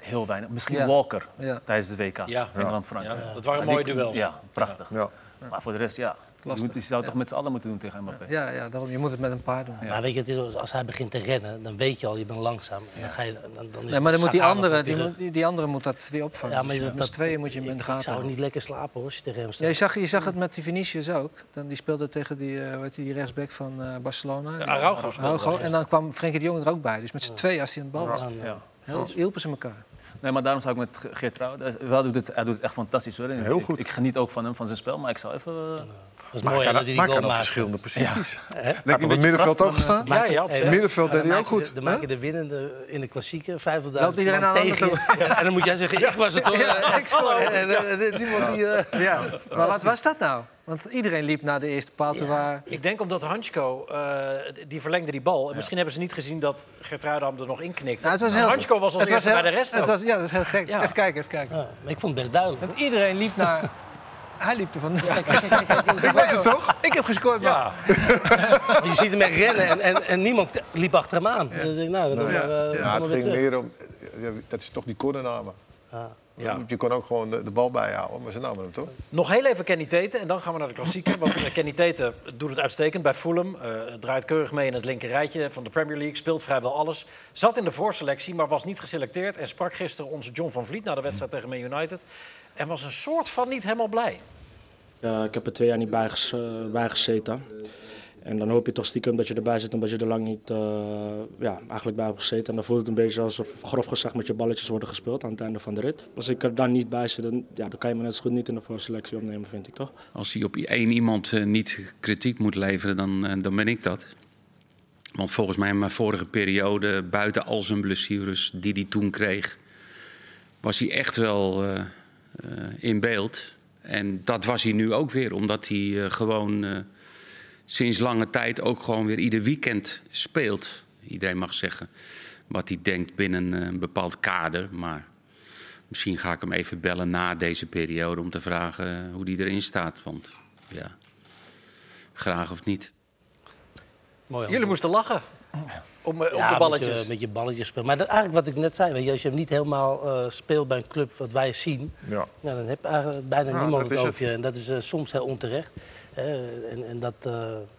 heel weinig. Misschien
Ja.
Walker
Ja,
tijdens de WK.
Ja.
Engeland-Frankrijk.
Ja, dat waren
Maar
mooie
die-
duels.
Ja, prachtig.
Ja.
Maar voor de rest, ja. Je,
Lastig.
moet- je zou het
Ja.
toch met z'n allen moeten doen tegen Mbappé.
ja, ja daarom, je moet het met een paar doen.
Maar weet je, het is als- als hij begint te rennen, dan weet je al, je bent langzaam. En Dan ga je, dan, dan is
Nee,
het-
maar dan moet die
staat aan
andere,
op je
die,
rug.
moet- die- die andere moet dat weer opvangen.
Ja, maar
dus
dat-
met z'n
dat-
tweeën moet je hem in de
Ik
gaten
zou
houden.
niet lekker slapen hoor, als je tegen hem
Ja,
staat.
je, zag, je zag het met die Venetius ook. Dan, die speelde tegen die, eh, hoe heet die, die rechtsback van eh, Barcelona. Die-
Araujo speelde
Araujo. En dan kwam Frenkie de Jong er ook bij. Dus met z'n tweeën als hij aan het bal was.
Ja.
heel- Hielpen ze elkaar.
Nee, maar daarom zou ik met Ge- Geert Trouwen... eh, Wel doet het, hij doet het echt fantastisch hoor. En
Heel
ik-
goed.
Ik, geniet ook van hem, van zijn spel. Maar ik zou even... eh,
Dat is
Maar
mooi hè,
hij
dat
kan,
hij die
maar hij
goal
kan op
maakt.
verschillende posities. Hij
Lijkt
heeft op
een
het middenveld
beetje
ook gestaan.
Ja, ja, op
Hey,
zich.
Het middenveld
dan
deed hij ook
maak je de-
goed.
Dan
hè?
maak je de winnende in de klassieke, 50.000
Loopt iedereen
man
aan de andere
tegen je. En dan moet jij zeggen, ik was het toch. eh, en, eh, niemand die... eh,
Ja. Maar wat was dat nou? Want iedereen liep naar de eerste paal toe waar...
Ik denk omdat Hansko, eh, die verlengde die bal. En misschien hebben ze niet gezien dat Gertruidam er nog inknikt.
Nou, het was heel-
Hansko was als
het
eerste
heel-
bij de rest.
Het
ook.
was, ja, dat is heel gek.
Ja.
Even kijken, even kijken.
ik vond het best duidelijk.
Want iedereen liep naar... Hij liep er vandaan.
Ik
was het toch? Ik heb gescoord, maar...
Ja.
Want je ziet hem echt rennen en, en, en niemand liep achter hem aan. En dan denk ik, nou, dan doen we, eh, dan
Ja,
doen
het
we
ging
terug.
meer om... ja, Dat is toch die cornername.
Ja.
Je kon ook gewoon de, de bal bijhouden, maar ze namen hem toch?
Nog heel even Kenny Teten en dan gaan we naar de klassieker. Want eh, Kenny Teten doet het uitstekend bij Fulham. Eh, draait keurig mee in het linker rijtje van de Premier League. Speelt vrijwel alles. Zat in de voorselectie, maar was niet geselecteerd. En sprak gisteren onze John van Vliet na de wedstrijd tegen Man United. En was een soort van niet helemaal blij.
Ja, ik heb er twee jaar niet bij, ges- eh, bij gezeten. En dan hoop je toch stiekem dat je erbij zit omdat je er lang niet eh, ja, eigenlijk bij hebt gezeten. En dan voelt het een beetje alsof grof gezegd met je balletjes worden gespeeld aan het einde van de rit. Als ik er dan niet bij zit, dan, ja, dan kan je me net zo goed niet in de voorselectie opnemen, vind ik toch?
Als hij op één iemand eh, niet kritiek moet leveren, dan, eh, dan ben ik dat. Want volgens mij in mijn vorige periode, buiten al zijn blessures die hij toen kreeg, was hij echt wel eh, eh, in beeld. En dat was hij nu ook weer, omdat hij eh, gewoon eh, sinds lange tijd ook gewoon weer ieder weekend speelt. Iedereen mag zeggen wat hij denkt binnen eh, een bepaald kader, maar Misschien ga ik hem even bellen na deze periode om te vragen hoe die erin staat. Want ja, graag of niet.
Oh
Mooi,
Jullie moesten lachen. Om, eh,
Ja,
om de
Met
balletjes.
je, met je balletjes spelen. Maar dat, eigenlijk wat ik net zei, weet je, als je hem niet helemaal eh, speelt bij een club wat wij zien,
Ja.
nou, dan heb eigenlijk bijna
Ja,
niemand
dat
het
is
over je. En dat is eh, soms heel onterecht. Eh, en, en dat, eh,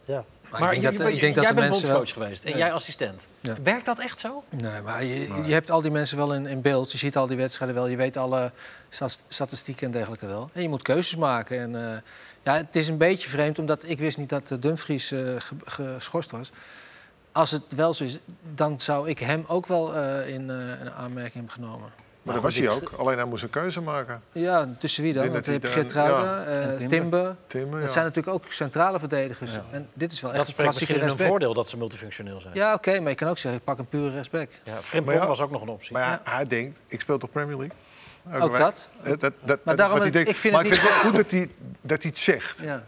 ja.
Maar ik denk dat- ik denk dat
jij
de
bent
mensen wel-
bondscoach geweest en
Ja.
jij assistent.
Ja.
Werkt dat echt zo?
Nee, maar je, je hebt al die mensen wel in, in beeld. Je ziet al die wedstrijden wel. Je weet alle stat- statistieken en dergelijke wel. En je moet keuzes maken. En, eh, ja, het is een beetje vreemd, omdat ik wist niet dat eh, Dumfries eh, ge- geschorst was. Als het wel zo is, dan zou ik hem ook wel eh, in, eh, in aanmerking hebben genomen.
Maar
goed,
dat was hij
ik-
ook. Alleen hij moest een keuze maken.
Ja, tussen wie dan?
Ik
Want
denk
je hebt
dat hij
Gertruida,
dan- ja. En
eh,
Timber.
Timber.
Timber,
Dat
ja.
zijn natuurlijk ook centrale verdedigers. En dit is wel
Dat
echt
spreekt
klassieke
misschien in hun
respect.
voordeel dat ze multifunctioneel zijn.
Ja, oké, maar je kan ook zeggen, ik pak een pure respect.
Ja, Frimpong
Maar ja,
was ook nog een optie.
Maar ja, hij denkt, ik speel toch Premier League? Elke
Ook
week.
dat?
Eh, Dat, dat, dat is
daarom
wat hij
het-
denkt.
ik vind
maar
het
ik vind
niet-
het wel goed dat hij, dat hij het zegt.
Ja.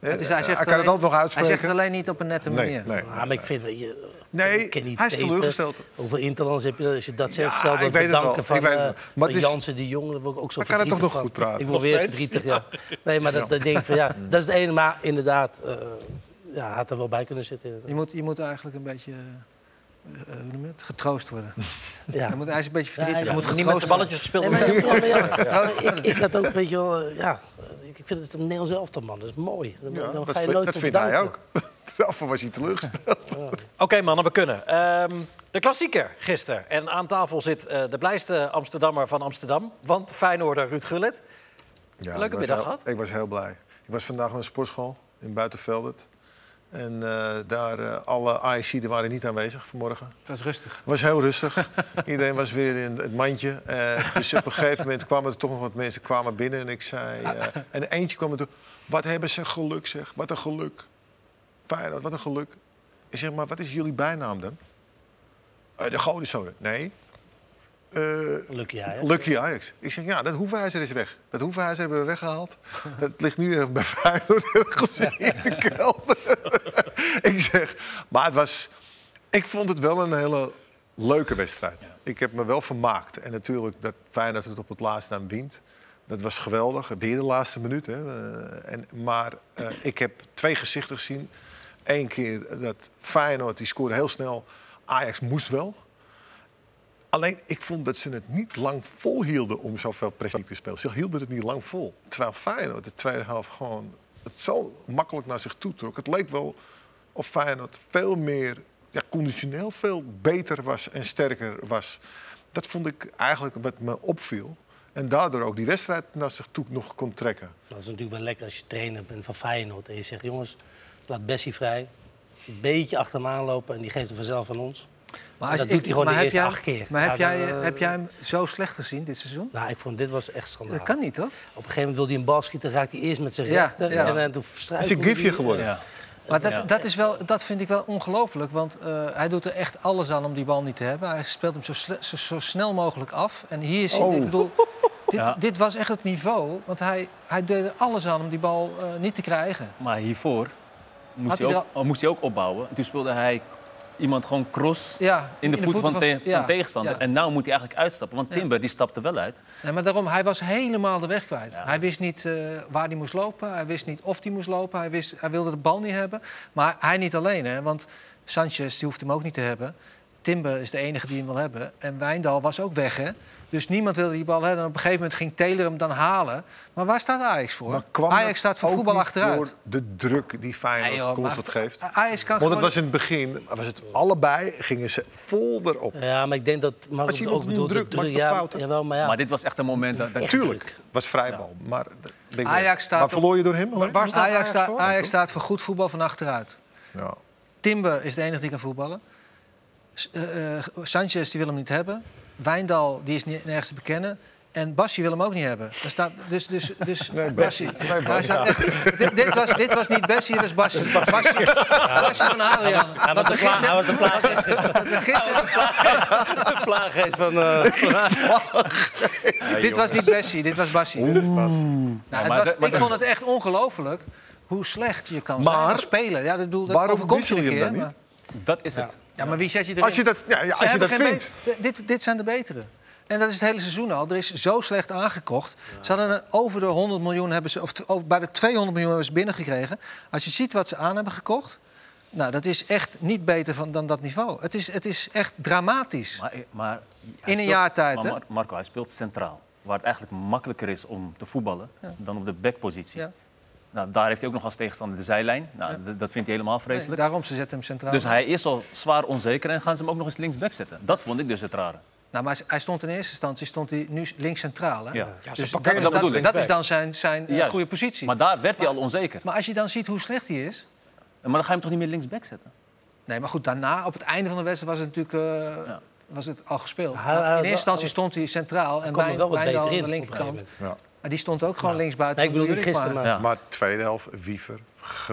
Eh,
Het is-
hij,
hij, zegt
kan het
alleen-
altijd nog
hij
uitspreken.
zegt het alleen niet op een nette
Nee,
manier.
nee.
Ah, maar ik vind, weet je,
Nee,
ik ken niet
hij is
Teten.
teleurgesteld.
Hoeveel interlands heb je als je dat zegt?
Ja,
zelf
ik
dat
weet het wel,
bedanken van,
ik weet het
eh,
wel. Maar
van
het is-
Jansen, die jongen, daar word ik ook zo
Maar kan het toch nog
verdrietig
goed
van.
praten? Mm.
Ik word
Nog
weer
steeds?
verdrietig, ja. Nee, maar dat, dat denk ik van, ja, dat is het ene. Maar inderdaad, eh, ja, hij had er wel bij kunnen zitten.
Je moet, je moet eigenlijk een beetje eh, eh, hoe noem je het? getroost worden.
Ja.
Je moet, hij is een beetje verdrietig.
Ja,
je moet
Niet met
getroost
zijn balletjes
worden.
gespeeld.
Nee, maar
worden.
ja,
Ja.
maar ik, ik had ook, weet je wel, eh, ja, ik ik vind het een Nederlands elftal, man. Dat is mooi. Dan,
Ja,
dan
dat
ga je
vind-
nooit
dat
voor
vindt hij
bedanken.
ook. Daarvoor was hij teleurgesteld.
Oké mannen, we kunnen. Ehm, de klassieker gisteren. En aan tafel zit eh, de blijste Amsterdammer van Amsterdam. Want Feyenoorder Ruud Gullit.
Ja,
Leuke
ik was
middag
heel-
gehad.
Ik was heel blij. Ik was vandaag naar een sportschool in Buitenveldert. En eh, daar, eh, alle AIC'den waren niet aanwezig vanmorgen.
Het was rustig.
Het was heel rustig. Iedereen was weer in het mandje. Eh, dus op een gegeven moment kwamen er toch nog wat mensen kwamen binnen. En ik zei... eh, en eentje kwam er toe. Wat hebben ze geluk, zeg. Wat een geluk. Feyenoord, wat een geluk. Ik zeg, maar wat is jullie bijnaam dan? Eh, de Godenzonen. Nee. Eh,
Lucky hij. hè?
Lucky Ajax. Ik zeg, ja, dat hoefijzer is weg. Dat hoefijzer hebben we weggehaald. Het ligt nu even bij Feyenoord ergens in de kelder. ik zeg, maar het was... Ik vond het wel een hele leuke wedstrijd. Ik heb me wel vermaakt. En natuurlijk dat Feyenoord het op het laatst aan wint. Dat was geweldig. Weer de laatste minuut. Hè. Eh, en, maar eh, ik heb twee gezichten gezien. Eén keer dat Feyenoord, die scoorde heel snel. Ajax moest wel. Alleen, ik vond dat ze het niet lang volhielden om zoveel pressie te spelen. Ze hielden het niet lang vol. Terwijl Feyenoord de tweede helft gewoon het zo makkelijk naar zich toe trok. Het leek wel of Feyenoord veel meer, ja, conditioneel veel beter was en sterker was. Dat vond ik eigenlijk wat me opviel. En daardoor ook die wedstrijd naar zich toe nog kon trekken.
Dat is natuurlijk wel lekker als je trainer bent van Feyenoord. En je zegt, jongens, laat Bessie vrij. Een beetje achter hem aanlopen en die geeft hem vanzelf aan ons.
Maar
En dat doet hij gewoon de
maar heb
eerste
jij-
acht keer.
Maar heb,
Ja,
jij,
dan, eh,
heb jij hem zo slecht gezien dit seizoen?
Nou, ik vond dit was echt schandaal.
Dat kan niet, toch?
Op een gegeven moment wil hij een bal schieten, raakt hij eerst met zijn
Ja,
rechter.
ja.
En, eh, toen
Het is
struikelde
een gifje
hij.
geworden.
Ja.
Maar dat,
Ja.
dat, is wel, dat vind ik wel ongelooflijk. Want eh, hij doet er echt alles aan om die bal niet te hebben. Hij speelt hem zo, sle- zo, zo snel mogelijk af. En hier zie
Oh.
ik, bedoel, Dit, dit was echt het niveau, want hij, hij deed er alles aan om die bal eh, niet te krijgen.
Maar hiervoor
Had
moest
hij
hij, ook,
er
oh, moest hij ook opbouwen. En Toen speelde hij iemand gewoon cross
Ja,
in de voet, van, te- van
ja,
tegenstander.
ja.
En nou moet hij eigenlijk uitstappen, want
Ja.
Timber die stapte wel uit.
Nee, maar daarom, hij was helemaal de weg kwijt. Hij wist niet eh, waar hij moest lopen. Hij wist niet of hij moest lopen. Hij, wist, hij wilde de bal niet hebben. Maar hij niet alleen, hè, want Sanchez die hoeft hem ook niet te hebben. Timber is de enige die hem wil hebben. En Wijndal was ook weg, hè. Dus niemand wilde die bal hebben. En op een gegeven moment ging Taylor hem dan halen. Maar waar staat Ajax voor?
Maar kwam dat
Ajax staat voor
ook
voetbal
niet
achteruit.
Door de druk die Feyenoord
Nee, joh, maar
constant geeft.
Ajax kan
Want
gewoon...
het was in het begin, was het allebei, gingen ze vol erop.
Ja, maar ik denk dat
Als je
Marco
iemand
ook
nu
bedoelt...
drukt, maakt hij
ja,
fouten.
jawel, maar ja.
Maar dit was echt een moment dat... dat
Natuurlijk, was vrijbal. Maar, dat- ben ik
Ajax
wel.
staat
maar
op-
verloor je door hem? alleen?
Waar staat
Ajax,
Ajax
sta-
voor?
Ajax staat voor goed voetbal van achteruit.
Ja.
Timber is de enige die kan voetballen. S- eh, eh, Sanchez die wil hem niet hebben. Wijndal die is ni- nergens te bekennen. En Bassi wil hem ook niet hebben. Er staat, dus dus, dus
Nee,
Bassi.
Bassi. Nee,
Hij
Bassi.
staat echt- dit, dit was, dit was niet Bessie, dit was Bassi. Bassi, Bassi van Adriaan.
Hij was,
Wat
de
we
pla- hij
gisteren-
was de plaaggeest. de plaaggeest van... eh,
Dit was niet Bessie, dit was Bassi. Nou, het
maar
was-
dat- maar
ik
dat-
vond het echt ongelooflijk hoe slecht je kan
Maar-
zijn als speler. Ja, dat, bedoel, dat
Waarom
overkomt je een
wissel je
keer.
hem dan
maar-
Dat is het.
Ja, maar wie zet je erin?
Als je dat, ja, ja,
Ze
als je
hebben
dat
geen
vindt.
be- D- dit, dit zijn de betere. En dat is het hele seizoen al. Er is zo slecht aangekocht. Ze hadden een- over de 100 miljoen hebben ze, of t- over- bij de 200 miljoen hebben ze binnengekregen. Als je ziet wat ze aan hebben gekocht. Nou, dat is echt niet beter van, dan dat niveau. Het is, het is echt dramatisch.
Maar, maar hij
In een
speelt-
jaar tijd,
maar
hè?
Mar- Marco, hij speelt centraal. Waar het eigenlijk makkelijker is om te voetballen dan op de backpositie.
Ja.
Nou, daar heeft hij ook nog als tegenstander de zijlijn. Nou, d- Dat vindt hij helemaal
Nee,
vreselijk.
daarom, ze zetten hem centraal.
Dus hij is al zwaar onzeker en gaan ze hem ook nog eens linksback zetten. Dat vond ik dus het rare.
Nou, maar hij stond in eerste instantie stond hij nu links centraal. Hè?
Ja. Ja, ze
dus dat,
pakken hem
is
dat
dan,
bedoel ik.
dat is dan zijn, zijn eh,
Juist.
goede positie.
Maar daar werd hij al onzeker.
maar als je dan ziet hoe slecht hij is...
Maar dan ga je hem toch niet meer linksback zetten?
Nee, maar goed, daarna, op het einde van de wedstrijd, was het natuurlijk eh, was het al gespeeld.
Hij- hij
Maar
had
in eerste
wel-
instantie stond hij centraal
kwam
en
er
Wijn-
wel wat
Wijndal
beter
aan
in,
de
op een
linkerkant.
gegeven
Ja.
Maar die stond ook gewoon linksbuiten.
Nee, ik
van
bedoel niet
Europa.
gisteren, maar-
Ja.
Maar tweede helft, Wiever,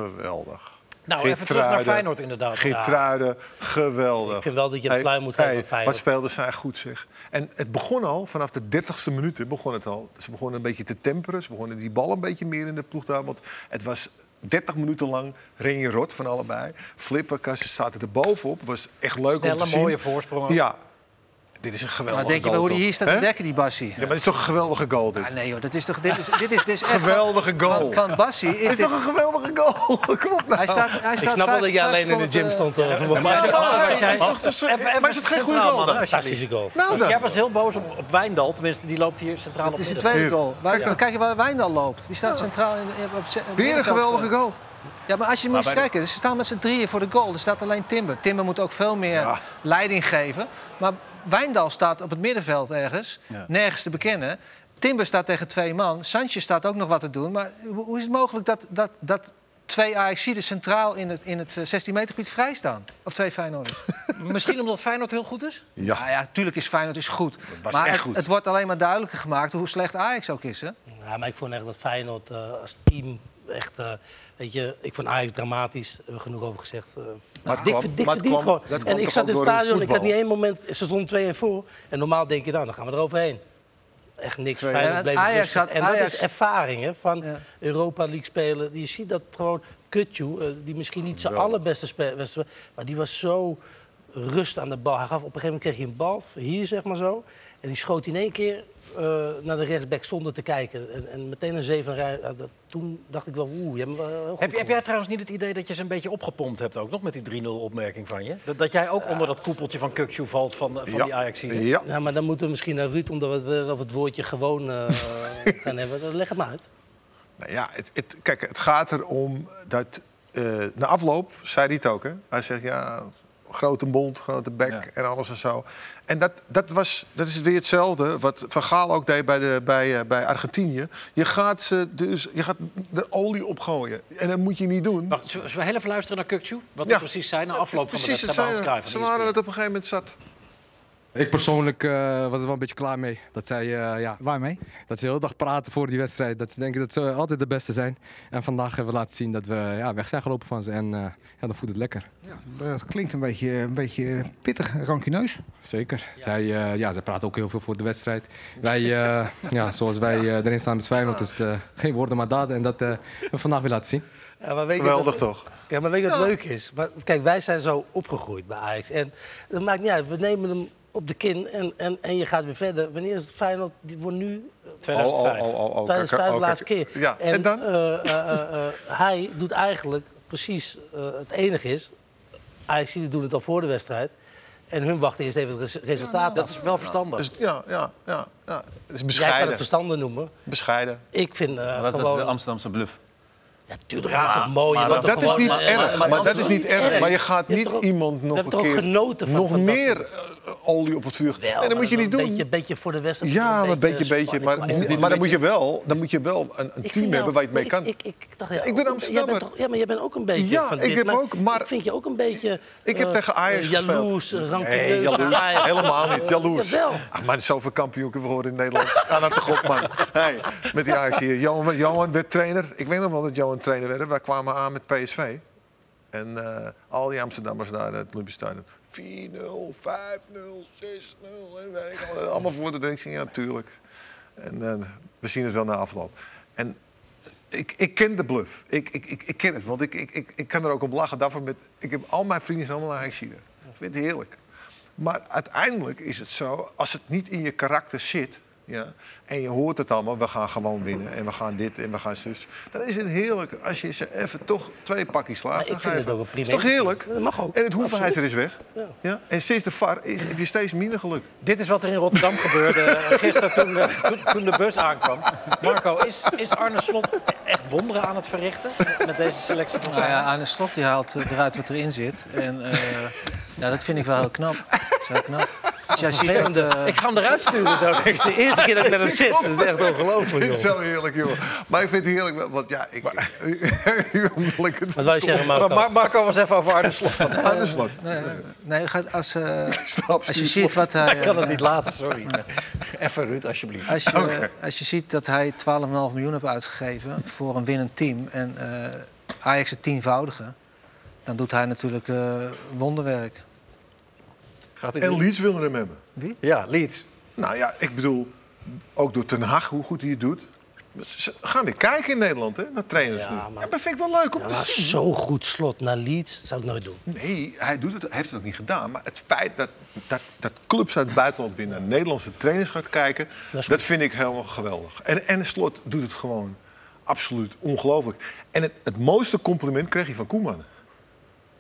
geweldig.
Nou, even terug naar
Geertruiden,
Feyenoord inderdaad.
Geertruiden, geweldig.
Ik vind wel dat je een pluim moet
hey,
hebben aan Feyenoord.
Wat speelden zij goed, zeg. En het begon al, vanaf de 30ste minuut begon het al. Ze begonnen een beetje te temperen. Ze begonnen die bal een beetje meer in de ploeg te houden. Want het was 30 minuten lang ren je rot van allebei. Flipperkassen zaten er bovenop. was echt leuk om
Snelle,
te zien.
mooie voorsprong ook.
Ja. Dit is een geweldige
Maar denk je
goal,
wel hoe die
toch?
hier staat te
Hè?
dekken, die Bassi?
Ja, maar het is toch een geweldige goal, dit.
Ah, nee joh, dat is toch, dit is, dit is, dit is echt van-
Geweldige goal.
Van, van Bassi is,
Dit is
dit...
toch een geweldige goal? Kom op nou.
Hij staat, hij staat
ik snap wel
vijf-
dat jij
vijf
alleen in de
seconden
gym
te-
stond. eh, voor-
Maar,
maar-
maar,
als jij-
maar- toch- toch-
Even, even
maar is het geen goede
centraal,
goal
mannen,
dan?
alsjeblieft.
Fantastische goal.
Nou dan.
Jij was heel boos op, op Wijndal. Tenminste, die loopt hier centraal
Het
op
is de
midden.
tweede
Hier,
goal. Waar,
kijk dan.
kijk je waar Wijndal loopt. Die staat centraal in, in- op ze-
Weer een geweldige goal.
Ja, maar als je
Maar
moet
bij de-
kijken, ze staan met z'n drieën voor de goal. Er staat alleen Timber. Timber moet ook veel meer
Ja.
leiding geven. Maar Wijndal staat op het middenveld ergens,
Ja.
nergens te bekennen. Timber staat tegen twee man. Sanchez staat ook nog wat te doen. Maar hoe hoe is het mogelijk dat, dat, dat twee Ajaxiden centraal in het, in het eh, 16 meter gebied vrij staan? Of twee Feyenoorders?
Misschien omdat Feyenoord heel goed is?
Ja. Nou ja, tuurlijk is Feyenoord is goed.
was
maar
echt
het,
goed.
het wordt alleen maar duidelijker gemaakt hoe slecht Ajax ook is. Hè?
Ja, maar ik vond echt dat Feyenoord eh, als team echt... eh, weet je, ik vond Ajax dramatisch, daar hebben we genoeg over gezegd. eh.
het
dik
kwam-
verdiend
maar het kwam-
gewoon.
dat kwam
En ik
toch
zat
ook
in het
door hun
stadion, ik had
voetbal?
niet één moment... Ze stonden 2-1 voor. En normaal denk je, nou, dan gaan we eroverheen. Echt niks.
Ja,
Feyenoord bleef
Ajax
rustig.
had-
en dat
Ajax-
is ervaring hè, van
Ja.
Europa League spelen. Je ziet dat gewoon Kutju, eh, die misschien niet zijn allerbeste speler was... maar die was zo rust aan de bal. Hij gaf, op een gegeven moment kreeg hij een bal, hier zeg maar zo... en die schoot in één keer eh, naar de rechtsback zonder te kijken. En, en meteen een zeven rij. Ja, dat, toen dacht ik wel, oeh, je hebt hem wel heel goed
Heb, je- heb
gevonden.
jij trouwens niet het idee dat je ze een beetje opgepompt hebt ook nog met die 3-0-opmerking van je? Dat, dat jij ook onder dat koepeltje van Kukçu valt van, eh, van die ajax
Ja.
Ja, maar dan moeten we misschien naar Ruud, omdat we het weer over het woordje gewoon eh, gaan hebben. Dan Leg het maar uit.
Nou ja, het, het- kijk, het gaat erom dat... eh, na afloop zei hij het ook, hè? Hij zegt, ja, grote mond, grote bek
Ja.
en alles en zo. En dat, dat, was, dat is weer hetzelfde wat Van Gaal ook deed bij, de, bij, eh, bij Argentinië. Je gaat, ze dus, je gaat er olie op gooien. En dat moet je niet doen.
Wacht, zullen we heel even luisteren naar Kukçu? Wat
Ja.
hij precies zei na afloop van de
Precies,
wedstrijd bij Hans
het zijn eh,
Cruijff.
er. Ze waren het op een gegeven moment zat.
Ik persoonlijk eh, was er wel een beetje klaar mee. Dat zij, eh, ja,
Waarmee?
dat ze de hele dag praten voor die wedstrijd. Dat ze denken dat ze altijd de beste zijn. En vandaag hebben we laten zien dat we ja, weg zijn gelopen van ze. En eh, ja, dan voelt het lekker.
Dat klinkt een beetje, een beetje pittig, rancuneus.
Zeker. Zij, eh, ja, zij praten ook heel veel voor de wedstrijd. Wij, eh, ja, zoals wij eh, erin staan met Feyenoord, is het eh, geen woorden maar daden. En dat eh, hebben we vandaag weer laten zien.
Ja, maar weet je
Geweldig
wat-
toch?
Ja, maar weet je wat
Ja.
leuk is? Maar, kijk, wij zijn zo opgegroeid bij Ajax. En dat maakt niet uit. We nemen hem op de kin en, en, en je gaat weer verder. Wanneer is het Feyenoord? Die wordt nu...
2005. Oh, oh, oh, oh, oh,
2005,
kijk, oh,
laatste
kijk.
keer.
Ja,
En,
en dan?
eh, eh, eh, eh, hij doet eigenlijk precies eh, het enige is... Ajax doen het al voor de wedstrijd. En hun wachten eerst even het res- resultaat af.
nou, dat is wel verstandig. Dus- ja, ja, ja, ja. is bescheiden.
Jij kan het verstandig noemen.
Bescheiden.
Ik vind eh,
dat is
gewoon...
de Amsterdamse bluff.
Natuurlijk is het mooi.
maar
je wilt
dat
toch
is
gewoon-
niet erg, maar
Maar dat is niet erg. Maar je gaat
hebt
niet
toch ook-
iemand
we
nog een
hebben toch
keer
ook genoten van-
nog
van dat
meer eh, olie op het vuur.
Wel,
nee, dat
maar
moet je
dan
niet
een
doen.
Beetje, een beetje voor de wedstrijd.
ja, maar een beetje, beetje. Maar,
klein. Is het niet
maar,
een
dan, moet
beetje- nou-
je wel, dan moet je wel een, een team hebben waar je het mee kan.
Ik, ik, ik, dacht, ja,
Ja, ik ben
jij bent
Amsterdammer.
toch- ja, maar jij bent ook een beetje
Ja,
van
ik
dit,
heb
maar
ook, maar-
Ik vind je ook een beetje...
Ik heb
eh,
tegen Ajax
eh, Jaloers,
gespeeld.
rancuneus.
Nee, jaloers.
Ajax.
Helemaal niet. Jaloers.
dus Jawel.
Ach, maar zoveel kampioen kunnen we horen in Nederland. Aan het toch op, man. Hey, met die Ajax hier. Johan, Johan werd trainer. Ik weet nog wel dat Johan trainer werd. Wij kwamen aan met PSV. En eh, al die Amsterdammers daar, het Olympisch Stadion. 4-0, 5-0, 6-0. en weet ik al. Allemaal voor de denk ik, ja, tuurlijk. En eh, we zien het wel na afloop. En ik, ik ken de bluff. Ik, ik, ik, ik ken het, want ik, ik, ik, ik kan er ook om lachen. Daarvoor met, ik heb al mijn vrienden zijn allemaal Ajaxiden. Ik vind het heerlijk. Maar uiteindelijk is het zo, als het niet in je karakter zit... Ja, en je hoort het allemaal, we gaan gewoon winnen en we gaan dit en we gaan zus. Dan is het heerlijk als je ze even toch twee pakjes slaat.
Maar ik
dan
vind
ga je
het ook
even-
een prima
Is toch heerlijk?
initiatief. Dat mag ook.
En het hoeveelheidsrecht is weg.
Ja.
Ja. En sinds de VAR is, heb je steeds minder geluk.
Dit is wat er in Rotterdam gebeurde eh, gisteren toen, eh, toen, toen de bus aankwam. Marco, is, is Arne Slot echt wonderen aan het verrichten met deze selectie van
Nou ja,
Feyenoord?
Arne Slot die haalt eh, eruit wat erin zit. En eh, ja, dat vind ik wel heel knap. Dat is heel knap. Dus jij ziet dat,
Vervelende.
eh,
Ik ga hem eruit sturen zo.
Het is de eerste keer dat ik met hem zit. Dat is echt ongelooflijk,
Dit is
Oh, joh.
zo heerlijk, joh. Maar ik vind het heerlijk, wel- want ja, ik... Omdat ik het-
Wat wou je zeggen, Marco?
Maar Mar- Marco was even over Arne Slot. van-
Aan de slag.
Nee, nee, nee, gaat als, eh,
Snap
als je ziet wat hij...
Ik kan het
eh,
niet laten, sorry. Even Ruud, alsjeblieft.
Als je, als je ziet dat hij 12,5 miljoen heeft uitgegeven voor een winnend team en eh, Ajax het tienvoudige, dan doet hij natuurlijk eh, wonderwerk.
Gaat
hij
En
niet?
Leeds willen hem hebben.
Wie?
Ja, Leeds.
Nou ja, ik bedoel, ook door Ten Hag, hoe goed hij het doet. Ze gaan weer kijken in Nederland, hè, naar trainers nu.
Ja, maar-
En dat vind ik wel leuk om
Ja,
te
maar
zien.
Ah, Zo goed slot naar Leeds, dat zou ik nooit doen.
Nee, hij doet het, hij heeft het ook niet gedaan. Maar het feit dat, dat, dat clubs uit het buitenland weer naar Nederlandse trainers gaat kijken... dat, vind ik helemaal geweldig. En, en Slot doet het gewoon absoluut ongelooflijk. En het, het mooiste compliment kreeg hij van Koeman.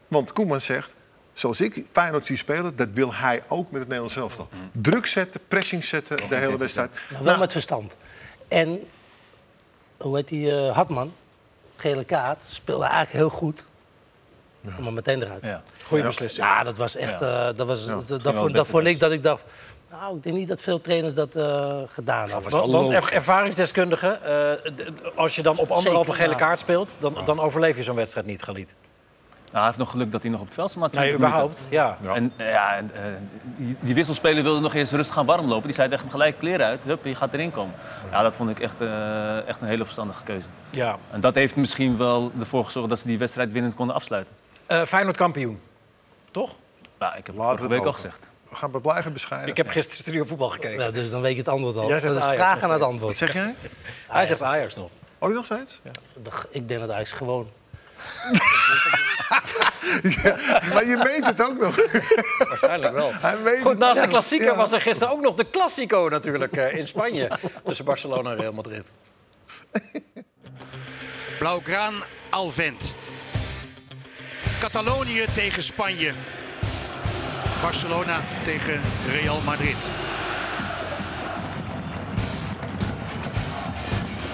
Want Koeman zegt, zoals ik Feyenoord zie spelen... dat wil hij ook met het Nederlands elftal. Druk zetten, pressing zetten, de hele wedstrijd. Nou,
Maar Nou, wel met verstand. En, hoe heet die, eh, Hartman, gele kaart, speelde eigenlijk heel goed. Maar meteen eruit.
Ja.
Goeie beslissing.
Ja, dat was echt, eh, dat, was, dat, dat,
wel
vond,
het
dat
beste
vond ik dat ik dacht... Nou, ik denk niet dat veel trainers dat eh, gedaan hebben.
Want, want er- ervaringsdeskundige, eh, d- als je dan op anderhalve
Zeker,
gele
ja.
kaart speelt, dan, dan overleef je zo'n wedstrijd niet, Galiet.
Nou, hij heeft nog geluk dat hij nog op het veld staat. maar
Nee,
20 minuten.
überhaupt, ja.
En eh, ja, en, eh, die, die wisselspeler wilde nog eens rustig gaan warmlopen. Die zei tegen hem gelijk kleren uit. Hup, je gaat erin komen. Ja, dat vond ik echt, eh, echt een hele verstandige keuze.
ja.
En dat heeft misschien wel ervoor gezorgd dat ze die wedstrijd winnend konden afsluiten.
Eh, Feyenoord kampioen, toch?
Nou, ik heb
Laten
het
we
vorige
het
week al
hopen.
gezegd.
We gaan we blijven bescheiden.
Ik heb gisteren studio voetbal gekeken.
Ja, dus dan weet je het antwoord al.
Jij
Dat
zegt
is
Ajax
vragen
nog
naar het
steeds.
antwoord.
Zeg jij?
Hij zegt Ajax nog.
Ook nog steeds?
Ik denk dat Ajax gewoon...
Maar je meet het ook nog.
Waarschijnlijk wel.
Hij weet
Goed,
het
naast de
echt.
klassieker
Ja.
was er gisteren ook nog de Classico natuurlijk eh, in Spanje. Tussen Barcelona en Real Madrid.
Blauwgraan Alvent. Catalonië tegen Spanje. Barcelona tegen Real Madrid.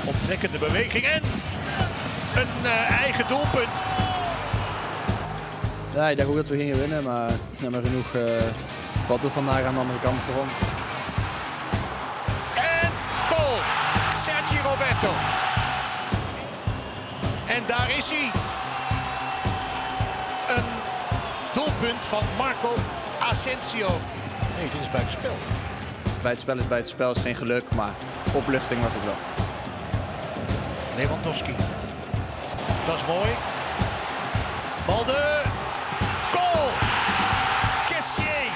Optrekkende beweging en een eh, eigen doelpunt.
Ja, ik dacht ook dat we gingen winnen, maar jammer genoeg eh valt het vandaag aan de andere kant voor ons.
Goal. Sergi Roberto. En daar is hij. Een doelpunt van Marco Asensio. Nee, dit is buitenspel.
Bij het spel is bij het spel is geen geluk, maar opluchting was het wel.
Lewandowski. Dat is mooi. Balde. Goal! Kessier.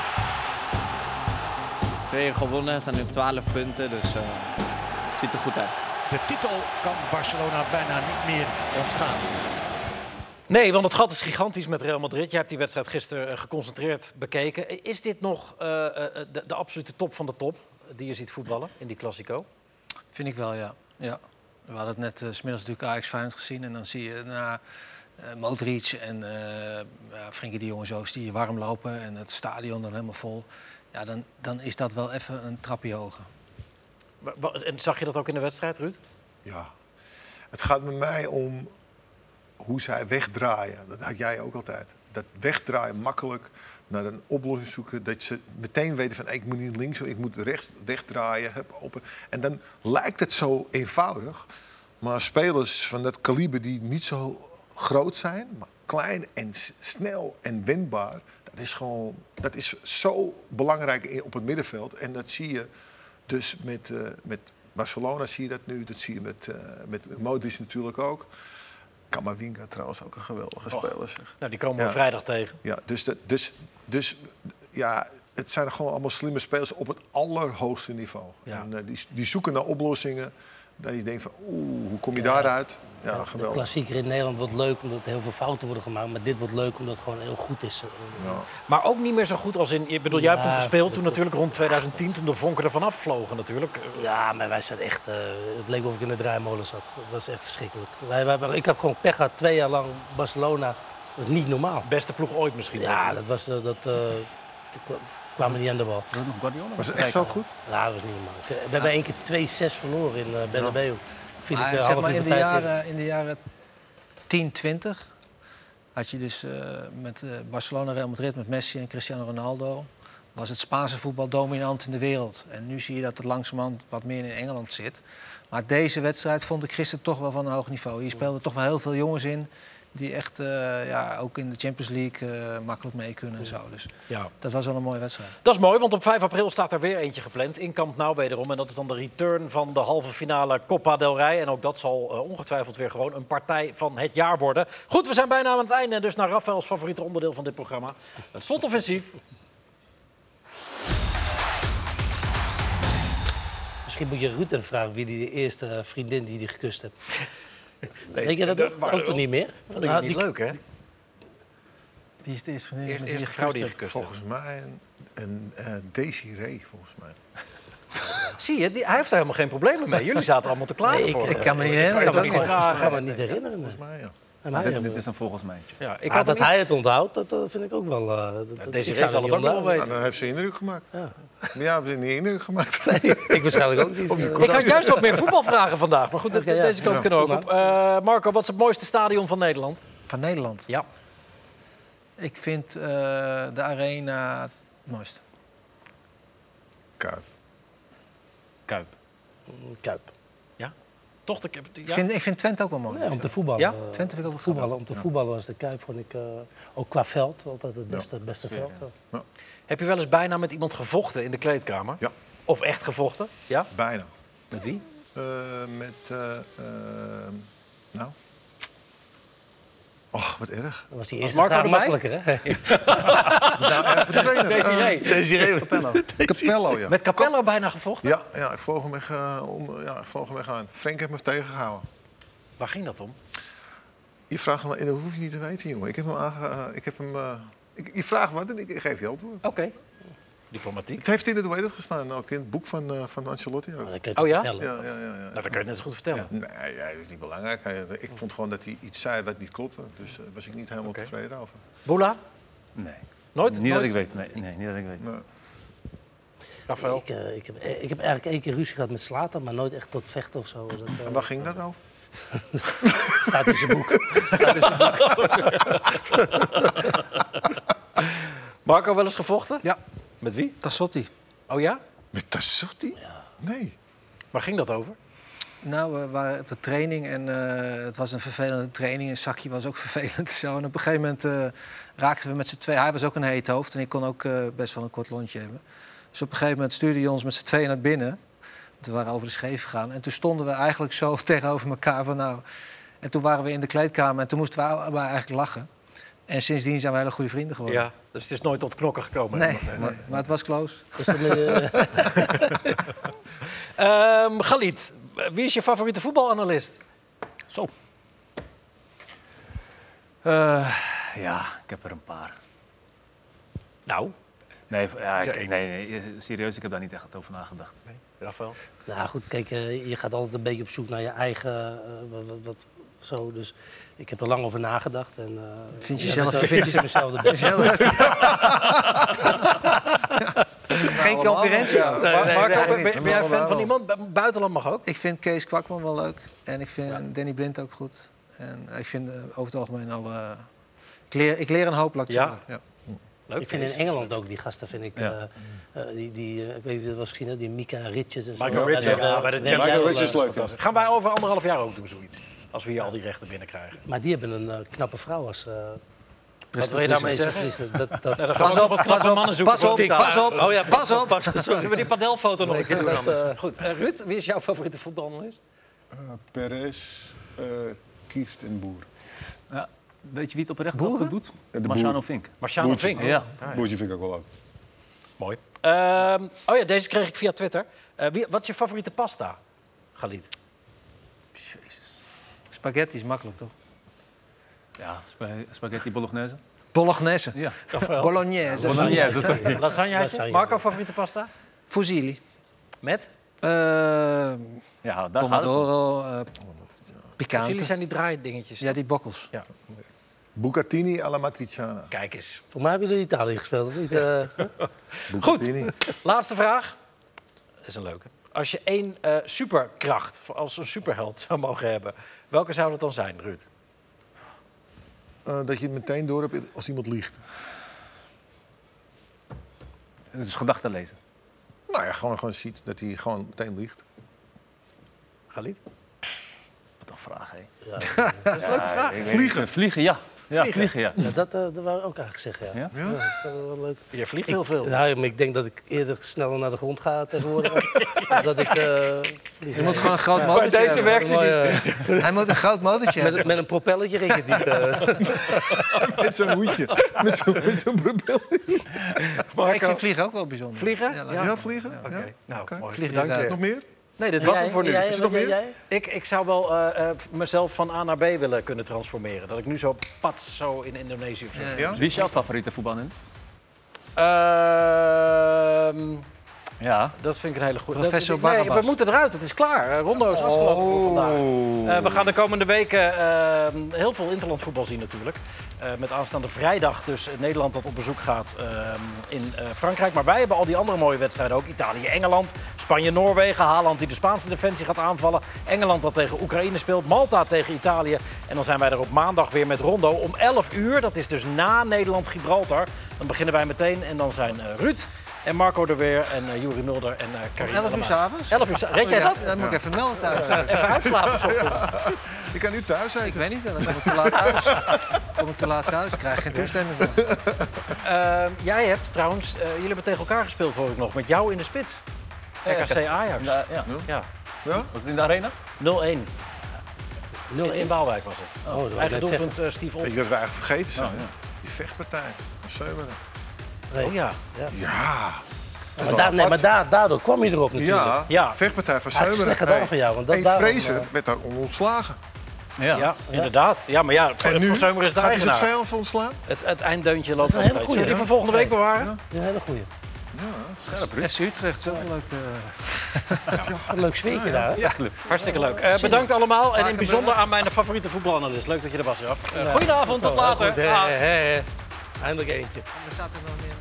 Twee gewonnen, staan nu op 12 punten, dus eh, het ziet er goed uit.
De titel kan Barcelona bijna niet meer ontgaan.
Nee, want het gat is gigantisch met Real Madrid. Jij hebt die wedstrijd gisteren eh, geconcentreerd bekeken. Is dit nog eh, eh, de, de absolute top van de top die je ziet voetballen in die Classico?
Vind ik wel, ja. ja. We hadden het net eh, 's smiddags natuurlijk Ajax Feyenoord gezien. En dan zie je na eh Modric en eh ja, Frenkie de Jong en zo zie je warm lopen. En het stadion dan helemaal vol. Ja, dan, dan is dat wel even een trapje hoger.
Wa- wa- En zag je dat ook in de wedstrijd, Ruud?
Ja. Het gaat met mij om hoe zij wegdraaien. Dat had jij ook altijd. Dat wegdraaien makkelijk naar een oplossing zoeken. Dat ze meteen weten van ik moet niet links, ik moet rechts, wegdraaien. Hup, op. En dan lijkt het zo eenvoudig. Maar spelers van dat kaliber die niet zo groot zijn, maar klein en s- snel en wendbaar. Dat is gewoon dat is zo belangrijk in- op het middenveld. En dat zie je dus met, eh, met Barcelona zie je dat nu. Dat zie je met, eh met Modric natuurlijk ook. Camavinga trouwens ook een geweldige
Och,
speler. Zeg.
Nou, die komen we
Ja.
vrijdag tegen.
Ja, dus, dat, dus, dus ja, het zijn gewoon allemaal slimme spelers op het allerhoogste niveau.
Ja.
En, eh, die, die zoeken naar oplossingen. Dat je denkt van, oeh, hoe kom je daaruit? Ja,
De
geweldig.
klassieker in Nederland wordt leuk omdat heel veel fouten worden gemaakt. Maar dit wordt leuk omdat het gewoon heel goed is.
Ja.
Maar ook niet meer zo goed als in... Ik bedoel, jij hebt hem
Ja,
gespeeld
dat-
toen natuurlijk rond 2010, toen de vonken er vanaf vlogen natuurlijk.
Ja, maar wij zijn echt. eh, het leek of ik in de draaimolen zat. Dat was echt verschrikkelijk. Wij, wij, hebben- ik heb gewoon pech gehad. Twee jaar lang Barcelona. Dat is niet normaal.
Beste ploeg ooit misschien.
Ja, dat was. eh, Dat, eh t- kwa- kwamen niet aan de bal.
Was het nog Guardiola?
Was het echt zo goed?
Ja, dat was niet normaal. eh, We hebben één keer 2-6 verloren in eh Bernabeu. Vind
Maar
ik, eh,
Ah, zeg
half
maar
uur
in
van
de,
tijd in.
jaren, in de jaren 10, 20 had je dus eh, met eh, Barcelona, Real Madrid, met Messi en Cristiano Ronaldo... was het Spaanse voetbal dominant in de wereld. En nu zie je dat het langzamerhand wat meer in Engeland zit. Maar deze wedstrijd vond ik gisteren toch wel van een hoog niveau. Hier speelden toch wel heel veel jongens in... die echt eh, ja, ook in de Champions League eh, makkelijk mee kunnen en zo. Dus
Ja.
dat was wel een mooie wedstrijd.
Dat is mooi, want op 5 april staat er weer eentje gepland. In Camp Nou wederom. En dat is dan de return van de halve finale Copa del Rey. En ook dat zal eh, ongetwijfeld weer gewoon een partij van het jaar worden. Goed, we zijn bijna aan het einde. En dus naar Rafaels favoriete onderdeel van dit programma. Het slotoffensief.
Misschien moet je Ruud even vragen wie die de eerste eh, vriendin die die gekust hebt. Weet je dat
eh,
ook? Dat kan toch niet meer?
Vond ik niet Ah,
Nou, die-
leuk, hè?
Die is de eerste van
Eerst- met wie eerste je vrouw die gekust hebt.
Volgens mij een, een eh, Desiree, volgens mij.
Zie je, die, hij heeft daar helemaal geen problemen mee. Jullie zaten allemaal te klagen
Nee, ik-
voor.
ik kan me niet
Ik kan
herinneren.
het ook
Dat
niet
kan-
vragen.
kan me niet herinneren, nee.
Volgens mij, ja.
En hij
dit,
hebben-
dit is dan volgens mij eentje.
Ja,
ik
ik had
dat
hem iets-
hij het onthoudt, dat eh, vind ik ook wel... eh, dat- dat-
Deze
ik
zal
zou
het
dat
ook nog
niet
wel
onthouden.
weten.
Nou, dan heeft ze indruk gemaakt. Ja, hebben ze niet indruk gemaakt.
Ik waarschijnlijk ook niet.
Of je
Ik
kon-
had juist wat meer voetbalvragen vandaag. Maar goed, de-
Oké, ja.
deze kant
Ja.
kunnen we ook
Doe
op. Eh, Marco, wat is het mooiste stadion van Nederland?
Van Nederland?
Ja.
Ik vind eh, de arena het mooiste.
Kuip.
Kuip.
Kuip.
Toch? Ik,
Ik, vind, ik vind Twente ook wel mooi.
Nee, om te voetballen.
Ja?
eh,
Twente vind ik ook wel
voetballen. Om te voetballen was de Kuip, vond ik eh, ook qua veld altijd het beste, het beste veld. eh.
Heb je wel eens bijna met iemand gevochten in de kleedkamer?
Ja.
Of echt gevochten? Ja.
Bijna.
Met wie?
Eh, met, eh, eh, nou... Och, wat erg.
Dat was die
Was
eerste
Marco
vraag
erbij?
makkelijker, hè?
Desiree.
Desiree.
Capello.
Eh, Capello, ja.
Met Capello bijna gevochten?
Ja, ja, ik vloog hem echt, eh, om, ja, ik vloog hem echt aan. Frank heeft me tegengehouden.
Waar ging dat om?
Je vraagt me, dat hoef je niet te weten, jongen. Ik heb hem aange... eh, ik heb hem, eh, ik, je vraagt wat en ik, ik geef je antwoord.
Oké. Diplomatiek.
Het heeft in de hoe heet het gestaan, ook in het boek van, eh, van Ancelotti. Ook.
Dan kan je
Oh
het
ja?
vertellen.
Ja, ja, ja, ja.
Nou, dat kan je net zo goed vertellen.
Nee, ja, dat is niet belangrijk. Hij- Ik vond gewoon dat hij iets zei wat niet klopte. Dus daar was ik niet helemaal
Oké.
tevreden over.
Boela?
Nee.
Nooit?
Niet dat
Nooit?
ik weet. Nee, nee, niet dat ik weet.
Maar
Rafael?
Ik, eh, ik, heb, eh, ik heb eigenlijk één keer ruzie gehad met Slater, maar nooit echt tot vechten of zo. Dat, eh,
En waar ging dat over?
staat in zijn boek. Staat in zijn boek.
Marco wel eens gevochten?
Ja,
Met wie?
Tassotti.
Oh ja?
Met Tassotti? Nee.
Waar ging dat over?
Nou, we waren op de training en eh, het was een vervelende training. En Sakje was ook vervelend. Zo. En op een gegeven moment eh, raakten we met z'n tweeën... Hij was ook een heet hoofd en ik kon ook eh, best wel een kort lontje hebben. Dus op een gegeven moment stuurde hij ons met z'n tweeën naar binnen. Toen waren we over de scheef gegaan. En toen stonden we eigenlijk zo tegenover elkaar van nou... En toen waren we in de kleedkamer en toen moesten we allebei eigenlijk lachen. En sindsdien zijn we hele goede vrienden geworden.
Ja, dus het is nooit tot knokken gekomen.
Nee, nee, maar het was close.
Ehm Galit, wie is je favoriete voetbalanalist?
Zo. Eh, ja, ik heb er een paar.
Nou?
Nee, ja, ik- nee, nee, serieus, ik heb daar niet echt over nagedacht.
Rafael?
Nou goed, kijk, eh, je gaat altijd een beetje op zoek naar je eigen. eh, wat, wat, wat- zo, dus ik heb er lang over nagedacht. En, eh,
Vind je
ja,
zelf-
dat- vind je mezelf de beste?
Vind je zelf-
Geen
concurrentie.
Ja,
Nee,
Mar-
nee,
Marco,
nee,
ben-
niet.
ben, ben jij
Allemaal
fan van
wel.
iemand? Bu- Buitenland mag ook.
Ik vind Kees Kwakman wel leuk. En ik vind Danny Blind ook goed. En ik vind eh, over het algemeen al... eh, ik, leer, ik leer een hoop, laat ik
Ja.
zeggen. Ja.
Leuk,
ik vind in
Kees.
Engeland ook die gasten, vind ik.
Ja.
eh, eh, die, die, eh, ik weet niet of je dat was gezien, hè, die Mika Richards. En zo.
Michael
Ja,
Richards.
daar-
Ja, bij de
daar-
Champions
daar-
League.
daar-
Fantastisch. Gaan wij over anderhalf jaar ook doen zoiets? Als we hier al die rechten binnenkrijgen.
Maar die hebben een eh, knappe vrouw als... eh
Wat wil je daarmee zeggen?
presentatrice. Dat,
Nou,
dat,
dan gaan we nog wat knappe mannen zoeken
pas
voor
op,
die taal.
pas op,
Oh ja,
pas op.
Zullen we die padelfoto nog
Nee,
een keer
ik
doen
vind dat,
anders? Goed, eh, Ruud, wie is jouw favoriete voetbalanalist?
Perez, eh, Kieft en Boer.
Ja, weet je wie het oprecht wel goed doet?
Ja, de
Marciano
Boer. Oh.
Vink.
Marciano
Boertje.
Vink?
Ja.
Ah, ja.
Boertje vind ik ook wel leuk.
Mooi. Ehm, oh ja, deze kreeg ik via Twitter. Eh, wie, wat is je favoriete pasta, Galit?
Jezus.
Spaghetti is makkelijk, toch?
Ja, spa- spaghetti bolognese.
Bolognese.
Ja.
Bolognese.
Bolognese, sorry.
Lasagne.
Lasagne.
Marco, favoriete pasta?
Fusilli.
Met?
Eh
Ja, daar gaat het om.
pomodoro, eh picante.
Jullie zijn die draaidingetjes.
Ja, die bokkels.
Ja.
Bucatini alla matriciana.
Kijk eens.
Voor mij hebben jullie Italië gespeeld, of niet? Eh,
Goed, laatste vraag. Dat is een leuke. Als je één eh, superkracht, voor- als een superheld zou mogen hebben, welke zou dat dan zijn, Ruud?
Eh, dat je het meteen door hebt als iemand liegt.
Dus gedachten lezen.
Nou ja, gewoon, gewoon ziet dat hij gewoon meteen liegt.
Galit?
Wat een vraag, hè?
Ja.
Dat is
een leuke vraag.
Vliegen. Vliegen, ja. Ja,
Vliegen.
vliegen, ja.
Ja, dat, eh, dat wou ik ook eigenlijk zeggen, ja.
Ja?
dat is wel leuk.
Je vliegt
Ik-
heel
Oh,
veel.
Nou, maar ik denk dat ik eerder sneller naar de grond ga tegenwoordig. dan dat ik, eh, vlieg.
Je moet gewoon een groot
Ja.
motortje hebben.
Mooi, eh,
Hij moet een groot motortje
Met,
hebben.
met een propelletje ging het niet. eh.
Met zo'n hoedje. Met zo'n met zo'n bril.
Maar eh, ik vind vliegen ook wel bijzonder.
Vliegen? Ja,
laat-
vliegen?
Oké, nou, mooi.
Vliegen
Bedankt
is
je.
uit.
Nog meer?
Nee, dit
En
was
jij?
hem voor
En
nu.
jij?
Is er
Wat
nog
wil
meer?
jij?
Ik, ik zou wel eh, eh, mezelf van A naar B willen kunnen transformeren. Dat ik nu zo pats zo in Indonesië of zo.
Ja.
Wie is jouw favoriete voetbalanalyst?
Ehm,
Ja.
dat vind ik een hele goede.
Professor Oh.
dat- nee,
Barnabas.
we moeten eruit. Het is klaar. Eh, Rondo is afgelopen voor vandaag. Eh, we gaan de komende weken eh, heel veel interland voetbal zien natuurlijk. Eh, met aanstaande vrijdag dus Nederland dat op bezoek gaat ehm, in eh, Frankrijk. Maar wij hebben al die andere mooie wedstrijden ook. Italië, Engeland, Spanje, Noorwegen. Haaland die de Spaanse defensie gaat aanvallen. Engeland dat tegen Oekraïne speelt. Malta tegen Italië. En dan zijn wij er op maandag weer met Rondo om 11 uur. Dat is dus na Nederland-Gibraltar. Dan beginnen wij meteen en dan zijn eh, Ruud en Marco er weer. En eh Juri Mulder en eh Karim.
11 uur
Allemaal.
s'avonds? Oh,
11 uur. s- Red jij
Ja,
dat? Eh,
Dan moet ik even melden thuis.
Even uitslapen 's ochtends.
Ik kan nu thuis
Ik weet niet, dan kom ik te laat thuis. Kom ik te laat thuis, ik krijg geen toestemming. meer.
Ehm, jij hebt trouwens, eh, jullie hebben tegen elkaar gespeeld hoor ik nog, met jou in de spits. RKC Ajax.
Ja, ja.
Ja,
Was het in de arena?
0-1. In,
0-1.
in Waalwijk was het.
Oh, dat wil ik
Eigen
net zeggen.
doelpunt eh, Steve
Weet
Olsen.
je wat we eigenlijk vergeten zijn?
Oh, ja.
Die vechtpartij. Van Seumeren.
Nee.
Oh ja.
Ja.
Maar, daar, nee, maar daar, daardoor kwam je erop natuurlijk.
Ja, vechtpartij van
Ah, het is
Seumeren.
slecht gedaan van jou, want dat-
hey,
daarom,
Fraser
eh,
werd daar ontslagen.
Ja, inderdaad. Ja, maar ja, Van,
En nu
van Zeumer is de
gaat hij
eigenaar.
zichzelf ontslaan?
Het, het einddeuntje loopt
is een
altijd.
hele
Zullen
goeie,
we die
hè?
voor volgende week bewaren?
Dat is een hele goeie.
FC Utrecht, zo leuk. eh,
Een leuk sfeertje daar. hè?
Hartstikke leuk. Eh, bedankt allemaal. En in bijzonder aan mijn favoriete voetbalanalist. Leuk dat je er was, Raf. Eh, goedenavond, tot later.
Goed, eh, hè,
Ah.
hè, hè. Eindelijk eentje.
Er zaten nog meer.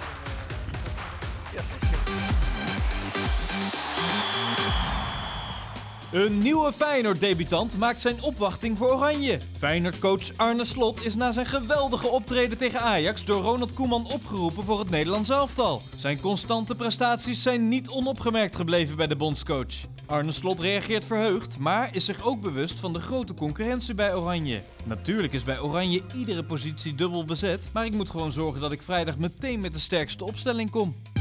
Een nieuwe Feyenoord-debutant maakt zijn opwachting voor Oranje. Feyenoord-coach Arne Slot is na zijn geweldige optreden tegen Ajax door Ronald Koeman opgeroepen voor het Nederlands elftal. Zijn constante prestaties zijn niet onopgemerkt gebleven bij de bondscoach. Arne Slot reageert verheugd, maar is zich ook bewust van de grote concurrentie bij Oranje. Natuurlijk is bij Oranje iedere positie dubbel bezet, maar ik moet gewoon zorgen dat ik vrijdag meteen met de sterkste opstelling kom.